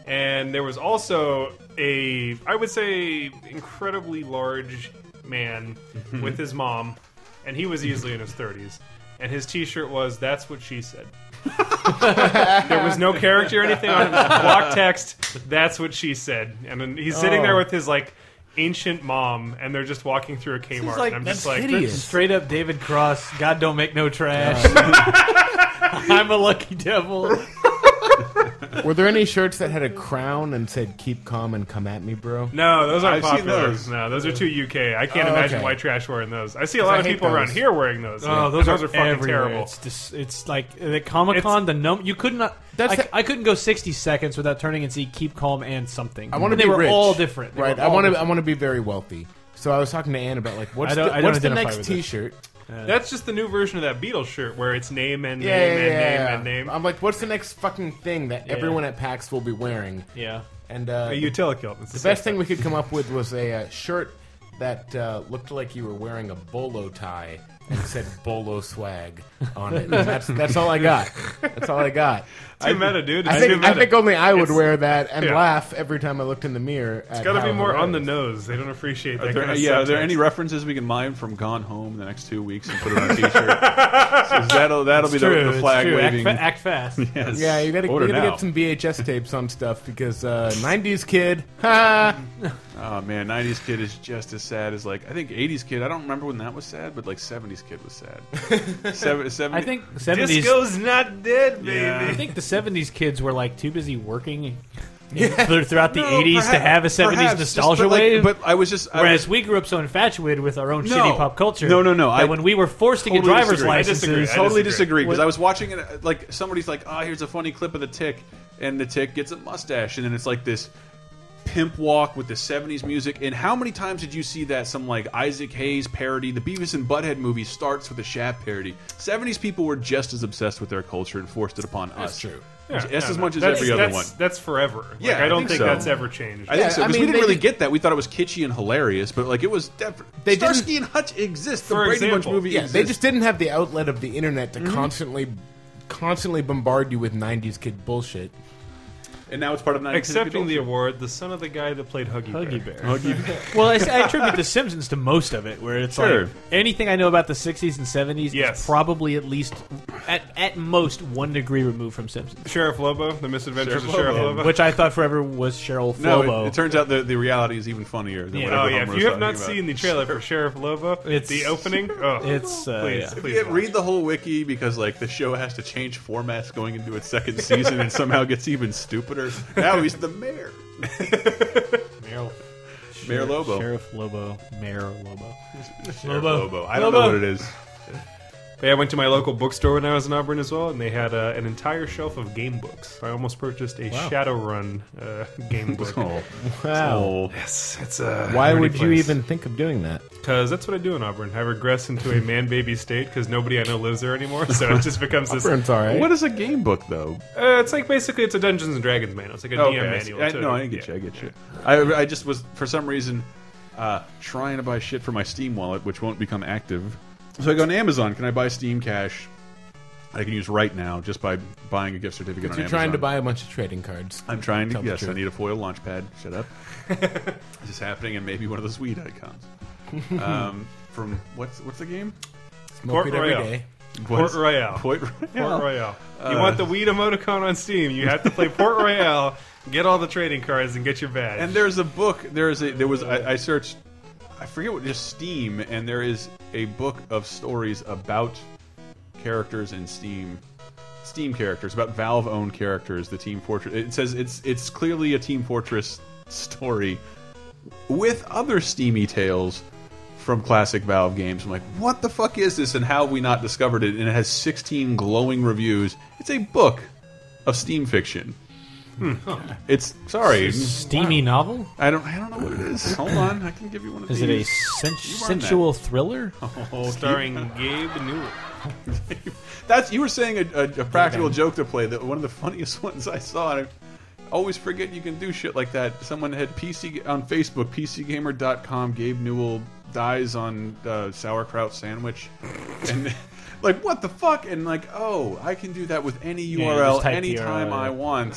S5: And there was also a, I would say, incredibly large
S4: <laughs>
S5: man with his mom. And he was easily in his 30s. And his t shirt was, That's What She
S4: <laughs>
S5: Said. There was no character or anything on it. It was Block text. That's what she said. And then he's sitting
S4: Oh.
S5: there with his like ancient mom, and they're just walking through a Kmart.
S3: like,
S5: and I'm
S6: that's
S5: just like,
S6: hideous.
S3: Straight up David Cross, God don't make no
S5: <laughs>
S3: trash. <laughs> I'm a lucky devil.
S6: Were there any shirts that had a crown and said "Keep calm and come at me, bro"?
S5: no, those aren't
S4: I've seen
S5: popular.
S4: those.
S5: No, those are too UK. I can't
S6: Oh,
S5: imagine
S6: okay.
S5: white trash wearing those. I see a lot
S6: I
S5: of
S6: hate
S5: people around
S6: those.
S5: here wearing those.
S3: Oh,
S5: And
S3: those,
S5: those
S3: are,
S5: fucking
S3: everywhere.
S5: terrible.
S3: It's, dis- it's like the Comic Con, the num. You could not.
S6: That's
S3: I,
S6: the-
S3: I couldn't go sixty seconds without turning and see "Keep Calm" and something.
S6: I want to
S3: And
S6: be
S3: They were
S6: rich.
S3: all different, They
S6: right?
S3: were
S6: I
S3: all
S6: want to. I
S3: different.
S6: want to be very wealthy. So I was talking to Anne about like what's
S3: I don't-
S6: the,
S3: I don't
S6: what's the
S3: identify
S6: next
S3: with it.
S6: T-shirt?
S5: That's just the new version of that Beatles shirt where it's name and name
S6: Yeah, yeah,
S5: and
S6: yeah.
S5: name and name.
S6: I'm like, what's the next fucking thing that everyone at PAX will be wearing?
S3: Yeah.
S6: And uh,
S5: a
S6: the
S5: utilikilt. It's The
S6: best thing we could come up with was a uh, shirt that uh, looked like you were wearing a bolo tie and said "bolo swag" on it. And that's that's all I got. That's all I got.
S5: Too meta, dude. It's
S6: I
S5: too
S6: think,
S5: meta.
S6: I think only I would
S5: It's-
S6: wear that and
S5: yeah.
S6: laugh every time I looked in the mirror. It's
S5: It's got to be more on the nose. They don't appreciate that
S4: Are there,
S5: kind of
S4: yeah, are there
S5: subtext.
S4: any references we can mine from Gone Home in the next two weeks and put it on a T-shirt? So that'll that'll be
S3: True,
S4: the, the
S3: it's
S4: flag
S3: true. Act,
S4: waving.
S3: fa- act
S6: <laughs>
S3: fast.
S4: Yes.
S6: Yeah, you gotta, you
S4: Order
S6: gotta
S4: now.
S6: get some VHS tapes on stuff because uh, '90s kid, ha!
S4: Oh man, '90s kid is just as sad as like I think '80s kid. I don't remember when that was sad, but like '70s kid was <laughs> sad. Seven, 70,
S3: I think seventies.
S5: Disco's not dead, baby.
S4: Yeah.
S3: I think the seventies kids were like too busy working through- throughout the
S4: No,
S3: eighties to
S4: perhaps-
S3: have a seventies
S4: perhaps, just-
S3: nostalgia
S4: but like-
S3: wave.
S4: But I was just I
S3: Whereas
S4: was-
S3: we grew up so infatuated with our own
S4: No.
S3: shitty pop culture.
S4: No, no, no,
S3: That
S4: I
S3: when we were forced to get
S4: totally
S3: driver's
S4: disagree. I
S5: disagree.
S3: licenses,
S5: I disagree.
S4: totally disagree because I was watching it uh, like somebody's like, "Ah, here's a funny clip of the Tick," and the Tick gets a mustache, and then it's like this pimp walk with the 70s music. And how many times did you see that some like Isaac Hayes parody, the Beavis and Butthead movie starts with a Shaft parody. 70s people were just as obsessed with their culture and forced it upon us.
S6: true.
S4: Just
S5: Yeah,
S4: as
S5: no,
S4: much as
S5: that's-
S4: every other
S5: that's-
S4: one.
S5: That's forever. Like,
S4: Yeah,
S5: I
S4: I
S5: don't
S4: think
S5: think
S4: so.
S5: that's ever changed.
S4: I think so
S6: I
S4: because
S6: mean,
S4: we didn't
S6: they
S4: really
S6: did-
S4: get that. We thought it was kitschy and hilarious, but like it was definitely.
S6: They
S4: Starsky and Hutch exist. The
S5: For
S4: Brady
S5: example.
S4: Bunch movie.
S6: Yeah, they
S4: exists.
S6: just didn't have the outlet of the internet to
S5: Mm-hmm.
S6: constantly, constantly bombard you with '90s kid bullshit.
S4: and now it's part of 90s
S5: Accepting the award, the son of the guy that played Huggy,
S3: Huggy
S5: Bear.
S3: Bear. well, I, I attribute The Simpsons to most of it, where it's
S4: Sure.
S3: like anything I know about the '60s and '70s
S5: Yes.
S3: is probably at least, at at most, one degree removed from Simpsons, um,
S5: Sheriff Lobo, The Misadventures
S4: Sheriff
S5: of Sheriff
S4: Lobo.
S5: Lobo.
S3: which I thought forever was Cheryl
S4: No,
S3: Flobo.
S4: it, it turns out the, the reality is even funnier than
S3: Yeah.
S4: whatever
S5: oh yeah,
S4: Homer
S5: if
S4: was
S5: you have
S4: talking
S5: not
S4: about.
S5: seen the trailer for Sheriff Lobo,
S3: It's-
S5: the opening. Oh,
S3: it's, uh,
S5: please,
S3: yeah.
S5: please
S4: Yeah,
S5: watch.
S4: read the whole wiki because like the show has to change formats going into its second season and somehow gets even stupider. Now he's
S5: <laughs>
S4: the mayor. Mayor Lobo.
S3: Sheriff Lobo, Mayor Lobo.
S4: Sheriff
S3: Lobo.
S4: Lobo. I don't
S3: Lobo.
S4: know what it is.
S5: Yeah, I went to my local bookstore when I was in Auburn as well, and they had uh, an entire shelf of game books. I almost purchased a Shadowrun uh, game book.
S4: <laughs> Oh.
S6: Wow.
S4: Oh.
S5: Yes, it's uh, a
S6: Why would you even think of doing that?
S5: Because that's what I do in Auburn. I regress into a man baby state because nobody I know lives there anymore. So
S4: <laughs>
S5: it just becomes this.
S6: Burns, all right.
S4: What is a game book though?
S5: Uh, it's like basically it's a Dungeons and Dragons manual. It's like a
S4: Oh, Okay,
S5: DM
S4: I see.
S5: manual.
S4: I-
S5: to-
S4: no, I get
S5: yeah.
S4: you. I get you. I, I just was for some reason uh, trying to buy shit for my Steam wallet, which won't become active. So I go on Amazon. Can I buy Steam Cash? I can use right now just by buying a gift certificate. on
S6: You're trying to
S4: Amazon.
S6: buy a bunch of trading cards.
S4: I'm trying to.
S6: Tell the
S4: Yes, I
S6: truth.
S4: need a foil launch pad. Shut
S6: <laughs>
S4: up. this is happening, and maybe one of those weed icons. Um, from what's what's the game?
S6: Smoke it every
S5: Royale.
S6: day.
S5: Port
S4: What's-
S5: Royale. Port
S4: Port Royale.
S5: Royale.
S8: Uh,
S5: you want the weed emoticon on Steam? You have to play
S8: <laughs>
S5: Port Royale, get all the trading cards, and get your badge.
S4: And there's a book. There is a there was I, I searched. I forget what just Steam, and there is a book of stories about characters in Steam. Steam characters about Valve-owned characters. The Team Fortress. It says it's it's clearly a Team Fortress story
S8: with other steamy tales from classic Valve games. I'm like, what the fuck is this, and how have we not discovered it? And it has 16 glowing reviews. It's a book of steam fiction. It's sorry,
S3: Steamy novel?
S8: I don't. I don't know what it is. Hold on, I can give you one of
S3: Is
S8: these.
S3: it a
S8: <laughs>
S3: sen-
S8: that.
S3: sensual thriller?
S4: Oh.
S5: starring
S8: <laughs>
S5: Gabe Newell.
S8: That's you were saying a, a, a practical joke to play. That one of the <laughs> funniest ones I saw. And I always forget you can do shit like that. Someone had PC on Facebook, PCGamer.com. Gabe Newell dies on uh, sauerkraut sandwich, and like what the fuck? And like, oh, I can do that with any
S3: just
S8: URL
S3: type the
S8: anytime
S3: URL.
S8: I want.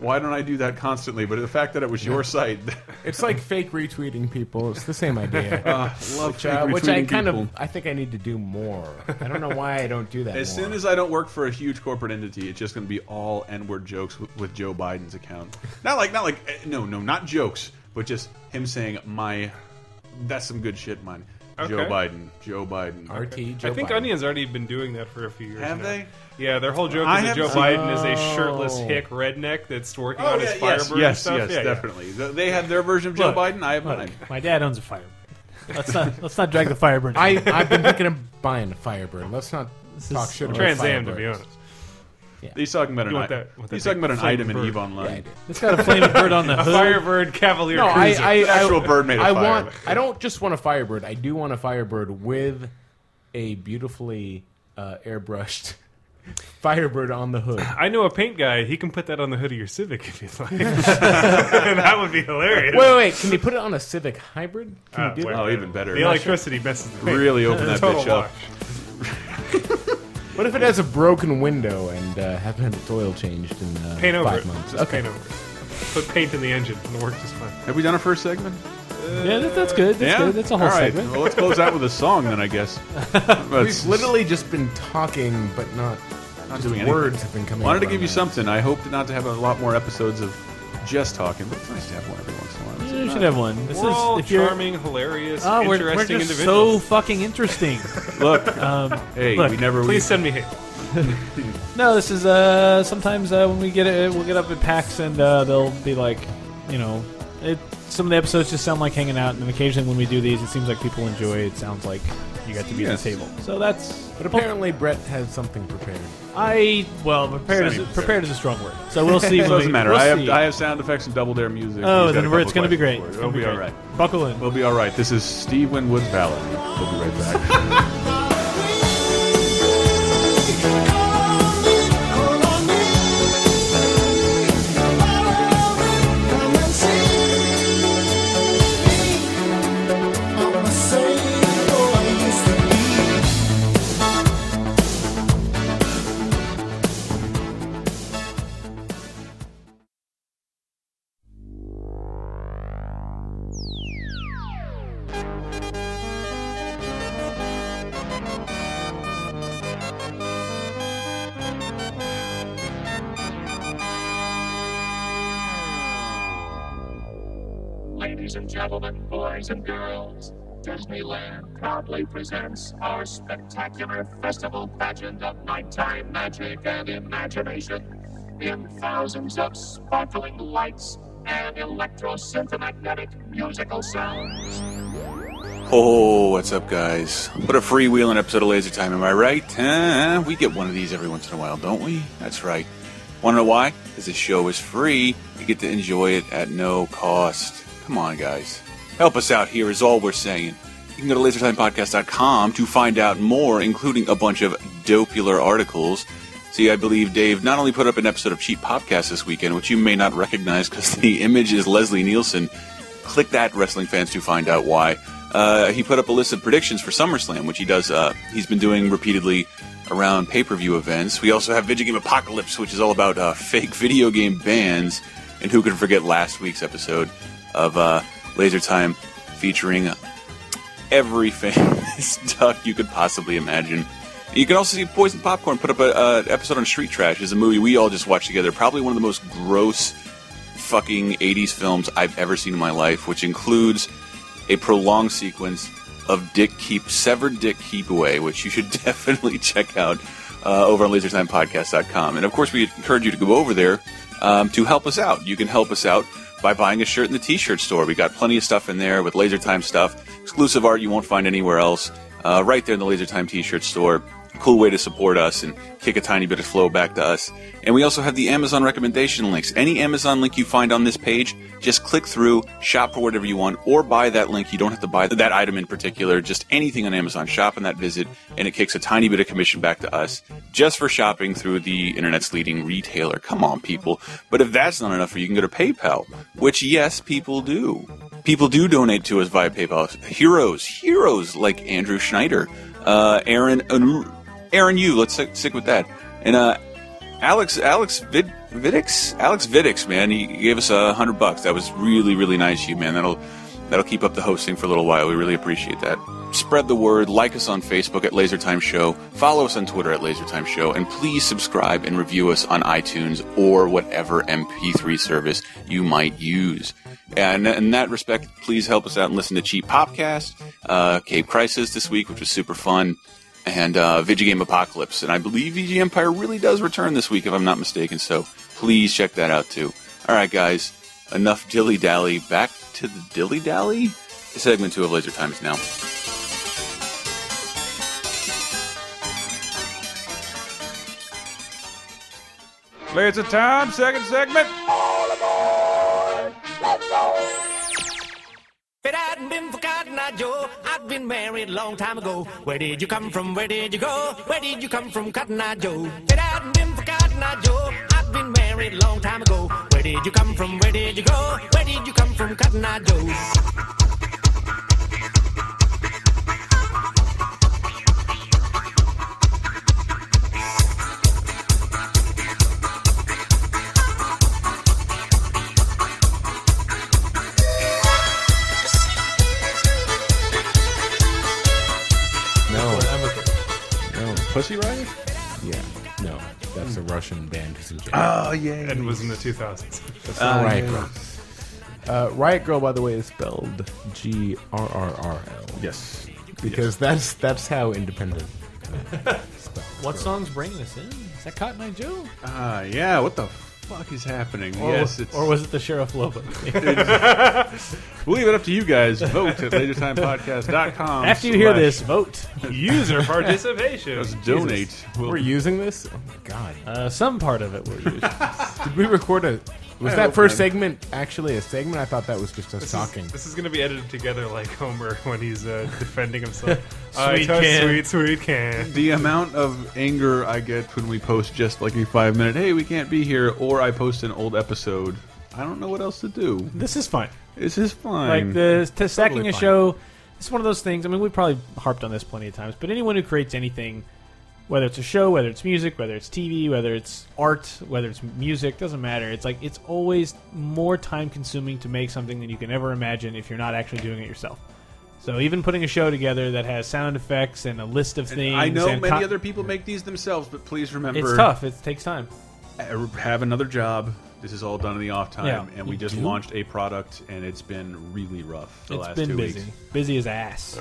S8: Why don't I do that constantly? But the fact that it was your site, <laughs>
S6: It's like fake retweeting people. It's the same idea.
S8: love
S6: which, uh, which I
S8: retweeting
S6: kind
S8: people.
S6: of I think I need to do more. I don't know why I
S4: <laughs>
S6: don't do that.
S8: As soon as I don't work for a huge corporate entity, it's just going to be all N-word jokes with, with Joe Biden's account. Not like, not like, eh, no, no, not jokes, but just him saying my, that's some good shit, mine. Joe
S5: Okay.
S8: Biden, Joe Biden.
S6: RT, Joe
S5: I think
S6: Biden.
S5: Onion's already been doing that for a few years.
S8: Have
S5: now.
S8: they?
S5: Yeah, their whole joke
S8: I
S5: is that
S8: have
S5: Joe
S8: seen- Oh.
S5: Biden is a shirtless hick redneck that's working on his
S8: yes,
S5: Firebird
S8: yes,
S5: stuff.
S8: yes,
S5: Oh, Yeah, yeah.
S8: definitely. Th- They have their version of Joe
S3: Look,
S8: Biden. I have mine.
S3: Look, my dad owns a Firebird. Let's not <laughs> let's not drag the Firebird.
S6: I
S3: <laughs>
S6: I've been thinking of buying a Firebird. Let's not talk
S3: is-
S6: shit about
S5: Trans Am, to be
S6: Firebirds.
S5: honest.
S8: He's talking about an,
S5: want
S8: i-
S5: that- want that
S8: he's talking
S5: big
S8: about an
S5: flaming
S8: item in
S5: bird.
S8: Eve
S6: Yeah, I
S8: Online.
S6: do.
S3: it's got a <laughs> flaming bird on the hood.
S5: Firebird Cavalier.
S6: No, I,
S5: Cruiser.
S6: I,
S8: An
S6: I-
S8: actual bird made of
S6: I
S8: fire.
S6: want. I don't just want a Firebird. I do want a Firebird with a beautifully uh, airbrushed <laughs> Firebird on the hood.
S5: I know a paint guy. He can put that on the hood of your Civic if you'd
S8: <laughs>
S5: like. <laughs> that would be hilarious.
S6: Wait, wait, wait. Can you put it on a Civic hybrid? Can
S5: Ah,
S6: you do
S5: well,
S6: that?
S8: Oh, even better.
S5: the electricity messes the paint.
S8: Really open
S5: <laughs>
S8: that
S5: Total
S8: bitch up.
S5: wash.
S6: What if it has a broken window and uh, haven't had its oil changed in uh,
S5: Paint over
S6: five
S5: it.
S6: months?
S5: Just paint over it. Put paint in the engine and it'll work just fine.
S8: Have we done our first segment?
S3: Yeah, that, that's good. That's
S8: yeah,
S3: good. That's a whole
S8: All right.
S3: segment.
S8: Well, let's close out with a song then,
S3: <laughs>
S8: I guess.
S6: We've literally just been talking, but not. just
S8: doing anything.
S6: words have been coming.
S8: Wanted to
S6: out of
S8: give
S6: our
S8: you
S6: mouths.
S8: something. I hope not to have a lot more episodes of just talking, but it's nice to have one every once in a while. It's
S3: You
S8: nice.
S3: should have one. This
S5: We're
S3: is
S5: all
S3: if you're.
S5: charming, hilarious,
S8: Ah,
S3: Oh, we're,
S5: interesting
S3: we're just so
S5: individuals.
S3: fucking interesting.
S8: Look, hey,
S3: look,
S8: we never.
S5: Please send me hate.
S3: No, this is uh sometimes uh, when we get it, we'll get up at PAX and uh, they'll be like, you know, it, some of the episodes just sound like hanging out, and then occasionally when we do these, it seems like people enjoy. It sounds like you got to be at
S8: Yes.
S3: the table, so that's.
S6: But apparently, Brett has something prepared.
S3: I well prepared is
S8: Semi-prepared.
S3: prepared is a strong word, so we'll see.
S8: It
S3: when
S8: <laughs> doesn't
S3: we-
S8: matter.
S3: we'll
S8: I have
S3: see.
S8: I have sound effects and double dare music.
S3: oh,
S8: We've got
S3: then
S8: a
S3: we're, it's
S8: couple
S3: gonna be
S8: questions
S3: great.
S8: for
S3: It's
S8: it.
S3: gonna
S8: We'll be
S3: great.
S8: all right.
S3: Buckle in.
S8: We'll be all right. This is Steve Winwood Ballard. We'll be right back.
S9: Ladies and gentlemen, boys and girls, Disneyland proudly presents our spectacular festival pageant of nighttime magic and imagination in thousands of sparkling lights and electro-synthomagnetic musical sounds.
S4: Oh, what's up, guys? What a freewheeling episode of Laser Time, am I right? Huh? We get one of these every once in a while, don't we? That's right. Want to know why? Because the show is free. You get to enjoy it at no cost. Come on, guys. Help us out here, is all we're saying. You can go to lasertimepodcast.com to find out more, including a bunch of dopular articles. See, I believe Dave not only put up an episode of Cheap Podcast this weekend, which you may not recognize because the <laughs> image is Leslie Nielsen, click that wrestling fans to find out why uh, he put up a list of predictions for summerslam which he does uh, he's been doing repeatedly around pay-per-view events we also have video game apocalypse which is all about uh, <laughs> fake video game bans and who could forget last week's episode of uh, laser time featuring every <laughs> famous duck you could possibly imagine. You can also see Poison Popcorn put up an episode on Street Trash. is a movie we all just watched together. Probably one of the most gross fucking 80s films I've ever seen in my life, which includes a prolonged sequence of Dick Keep, Severed Dick Keep Away, which you should <laughs> definitely check out uh, over on lasertimepodcast.com. And of course, we encourage you to go over there um, to help us out. You can help us out by buying a shirt in the t shirt store. We got plenty of stuff in there with Laser Time stuff, exclusive art you won't find anywhere else, uh, right there in the Laser Time t shirt store. Cool way to support us and kick a tiny bit of flow back to us. And we also have the Amazon recommendation links. Any Amazon link you find on this page, just click through, shop for whatever you want, or buy that link. You don't have to buy that item in particular, just anything on Amazon. Shop on that visit, and it kicks a tiny bit of commission back to us just for shopping through the internet's leading retailer. Come on, people. But if that's not enough for you, you can go to PayPal, which, yes, people do people do donate to us via PayPal. Heroes, heroes like Andrew Schneider, uh, Aaron, Aaron, you. Let's stick, stick with that. And uh, Alex, Alex Vid, Vidix, Alex Vidix, man, he gave us a hundred bucks. That was really, really nice, of you man. That'll that'll keep up the hosting for a little while. We really appreciate that. Spread the word. Like us on Facebook at Laser Time Show. Follow us on Twitter at Laser Time Show, and please subscribe and review us on iTunes or whatever MP3 service you might use. And in that respect, please help us out and listen to Cheap Popcast, uh, Cape Crisis this week, which was super fun, and uh, Vigigame Apocalypse. And I believe VG Empire really does return this week, if I'm not mistaken. So please check that out too. All right, guys, enough dilly dally. Back to the dilly dally. Segment two of Laser Time is now.
S10: Laser time, second segment.
S7: If it hadn't been for Cotton Eye Joe, I'd been married a long time ago. Where did you come from? Where did you go? Where did you come from, Cotton Eye Joe? If it hadn't been for Cotton Eye Joe, I'd been married a long time ago. Where did you come from? Where did you go? Where did you come from, Cotton Eye Joe?
S6: No,
S3: I'm with it.
S6: no,
S8: Pussy Riot?
S6: yeah, no. That's a Russian band. Who's
S8: Oh, yeah.
S5: And was in the
S8: <laughs>
S5: 2000s.
S6: That's not Riot Girl. Uh, Riot Girl, by the way, is spelled G R R R L.
S8: Yes.
S6: because that's that's how independent. uh, spelled.
S3: What song's bringing us in? Is that Cotton Eye Joe?
S8: Ah, yeah. What the fuck is happening?
S3: Or,
S8: yes, it's.
S3: or was it the Sheriff
S8: <laughs>
S3: Lobo?
S8: we'll leave it up to you guys. Vote at lasertimepodcast.com.
S3: After you hear
S8: slash-
S3: this, vote.
S5: User participation.
S8: Let's donate. We'll-
S6: We're using this? Oh my god!
S3: Uh, some part of it will use.
S6: Did we record a? Was
S8: I
S6: that
S8: hope
S6: first
S8: not.
S6: segment actually a segment? I thought that was just us talking.
S5: This is going to be edited together like Homer when he's uh, defending
S8: <laughs>
S5: himself.
S3: Sweet
S5: I touch
S3: can.
S5: sweet, sweet can.
S8: the amount of anger I get when we post just like a five minute, hey, we can't be here, or I post an old episode. I don't know what else to do.
S3: <laughs> this is fun.
S8: This is fine.
S3: Like the to sacking a
S6: fine.
S3: show, it's one of those things. I mean, we probably harped on this plenty of times, but anyone who creates anything, whether it's a show, whether it's music, whether it's TV, whether it's art, whether it's music, doesn't matter. It's like it's always more time consuming to make something than you can ever imagine if you're not actually doing it yourself. So even putting a show together that has sound effects and a list of things,
S8: I know
S3: and
S8: many
S3: co-
S8: other people make these themselves, but please remember
S3: It's
S8: <laughs>
S3: tough. It takes time.
S8: uh, have another job. This is all done in the off time,
S3: Yeah.
S8: and we
S3: You
S8: just
S3: do?
S8: launched a product, and it's been really rough the
S3: It's
S8: last
S3: been
S8: two
S3: busy,
S8: weeks.
S3: busy as ass.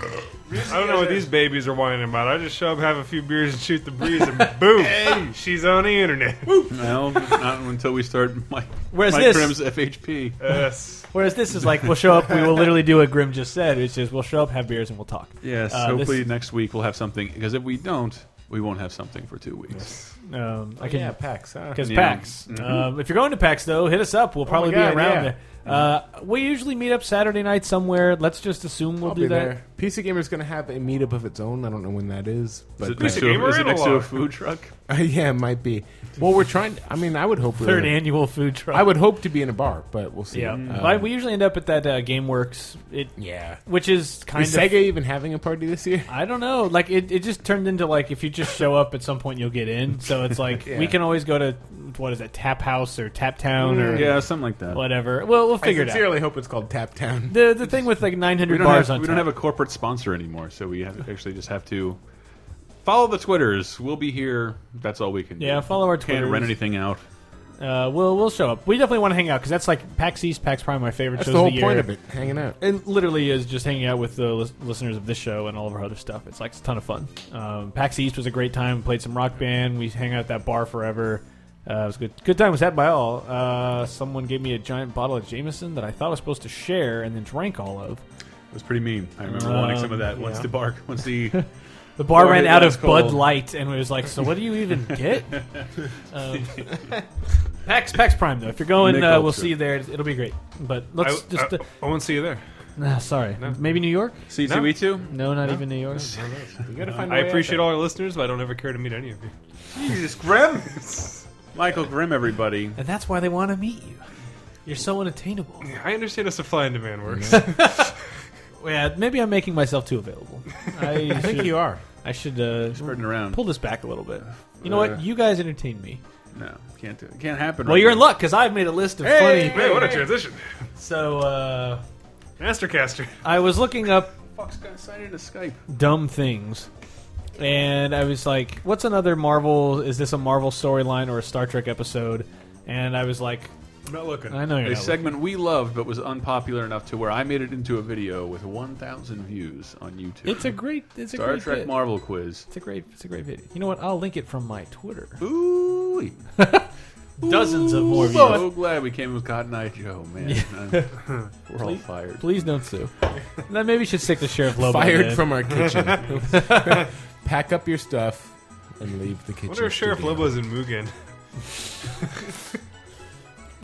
S5: I don't know what these babies are whining about. I just show up, have a few beers, and shoot the breeze,
S8: <laughs>
S5: and boom, she's on the internet.
S8: Well, not until we start <laughs> my
S3: Whereas
S8: my
S3: this-
S8: Grimm's FHP.
S5: Uh, Yes.
S3: Whereas this is like we'll show up, we will literally do what Grim just said, which is we'll show up, have beers, and we'll talk.
S8: Yes,
S3: Uh,
S8: hopefully
S3: this-
S8: next week we'll have something. Because if we don't, we won't have something for two weeks.
S3: Um, I can
S6: Oh, yeah, PAX.
S5: uh,
S6: Huh?
S3: Because
S8: Yeah.
S3: PAX. Um, if you're going to PAX, though, hit us up. We'll probably
S6: mm-hmm. Oh God,
S3: be around
S6: yeah.
S3: there. Uh, we usually meet up Saturday night somewhere. Let's just assume we'll
S6: I'll
S3: do
S6: be
S3: that.
S6: there. PC Gamer's going to have a meetup of its own. I don't know when that is,
S8: Is
S6: but
S8: it next
S5: a
S8: to
S5: gamer
S8: a, is it next to a
S5: analog.
S8: food truck?
S6: <laughs> yeah, it might be. Well, we're trying. I mean, I would hope
S3: Third
S6: we're,
S3: annual food truck.
S6: I would hope to be in a bar, but we'll see.
S3: Yeah.
S6: Uh,
S3: Well, we usually end up at that uh, GameWorks. It,
S6: yeah.
S3: Which is kind
S6: is
S3: of.
S6: Sega even having a party this year?
S3: I don't know. Like it, it just turned into like if you just show up at some point you'll get in. So it's
S6: <laughs>
S3: like we can always go to what is that Tap House or Tap
S6: Mm,
S3: Town or
S8: Yeah, something like that.
S3: whatever. Well, we'll figure
S6: I
S3: it out.
S6: sincerely hope it's called Tap Town.
S3: The the thing with like 900
S8: We don't,
S3: bars
S8: have,
S3: on
S8: we don't
S3: tap.
S8: have a corporate sponsor anymore, so we have, actually just have to follow the Twitters. We'll be here. That's all we can do.
S3: Yeah, follow our
S8: Can't rent
S3: Twitters.
S8: anything out.
S3: Uh, we'll we'll show up. We definitely want to hang out because that's like PAX East, PAX Prime, my favorite
S6: That's
S3: shows
S6: the whole
S3: of the
S6: point
S3: year.
S6: of it, hanging out.
S3: It literally is just hanging out with the lis- listeners of this show and all of our other stuff. It's like it's a ton of fun. Um, PAX East was a great time. Played some rock band. We hang out at that bar forever. Uh, it was good. Good time was had by all. Uh, someone gave me a giant bottle of Jameson that I thought I was supposed to share and then drank all of.
S8: It was pretty mean. I remember wanting some of that once
S3: Um, yeah.
S8: the bark,
S3: <laughs>
S8: once the
S3: The bar
S8: Boy,
S3: ran out
S8: that's
S3: of Bud
S8: cold.
S3: Light and was like, "So what do you even <laughs> get?" um, PAX PAX Prime though. If you're going,
S8: Mick
S3: uh, we'll
S8: Ultra.
S3: see you there. It'll be great. But
S5: I,
S3: let's just.
S5: I,
S3: Uh,
S5: I won't see you there.
S3: nah, sorry, maybe New York.
S8: CCE2.
S3: No, not even New York.
S5: I appreciate all our listeners, but I don't ever care to meet any of you.
S8: Jesus Grimm, Michael Grimm, everybody.
S3: And that's why they want to meet you. You're so unattainable.
S5: I understand how supply and
S3: <laughs>
S5: demand works.
S3: Yeah, maybe I'm making myself too available. <laughs> I,
S6: think
S3: should,
S6: you are.
S3: I should uh,
S8: Spreading around.
S3: pull this back a little bit. You know what? You guys entertain me.
S8: No, can't do it. Can't happen.
S3: Well,
S8: right
S3: you're in
S8: now.
S3: luck because I've made a list of funny.
S5: Man, what a transition.
S3: So uh,
S5: Mastercaster.
S3: I was looking up
S8: Fuck's gonna sign into Skype.
S3: dumb things. And I was like, what's another Marvel? Is this a Marvel storyline or a Star Trek episode? And I was like,
S5: I'm not looking.
S3: I know you're
S8: A
S3: not looking.
S8: segment we loved but was unpopular enough to where I made it into a video with 1,000 views on YouTube.
S3: It's a great, it's a
S8: Star
S3: great
S8: Trek
S3: bit.
S8: Marvel quiz.
S3: It's a great, it's a great video. You know what? I'll link it from my Twitter.
S8: Ooh,
S3: <laughs> Dozens of more views.
S8: so glad we came with Cotton Eye Joe, man. Uh, We're all fired.
S3: Please don't sue. then maybe you should stick to Sheriff Lobo.
S6: Fired
S3: then.
S6: from our kitchen.
S5: <laughs>
S6: Pack up your stuff and leave the kitchen.
S5: I wonder if Sheriff
S6: studio.
S5: Lobo's in Mugen.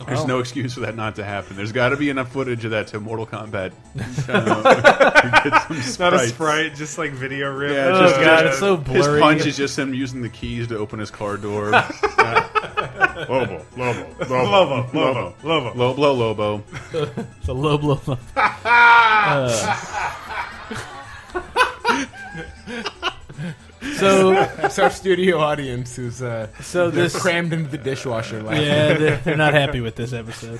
S8: There's no excuse for that not to happen. There's got to be enough footage of that to Mortal Kombat. <laughs> Uh, get some
S5: Not a
S8: sprites.
S5: sprite, just like video rip.
S8: Yeah,
S5: Uh,
S8: just-
S3: God, it's so blurry.
S8: His punch is just him using the keys to open his car door. Yeah. Lobo, Lobo, Lobo, Lobo, Lobo, Lobo, Lobo.
S3: It's a low blow. blow. Uh, so
S6: That's our studio audience who's uh,
S3: so this
S6: crammed into the dishwasher. Laughing.
S3: yeah they're, they're not happy with this episode.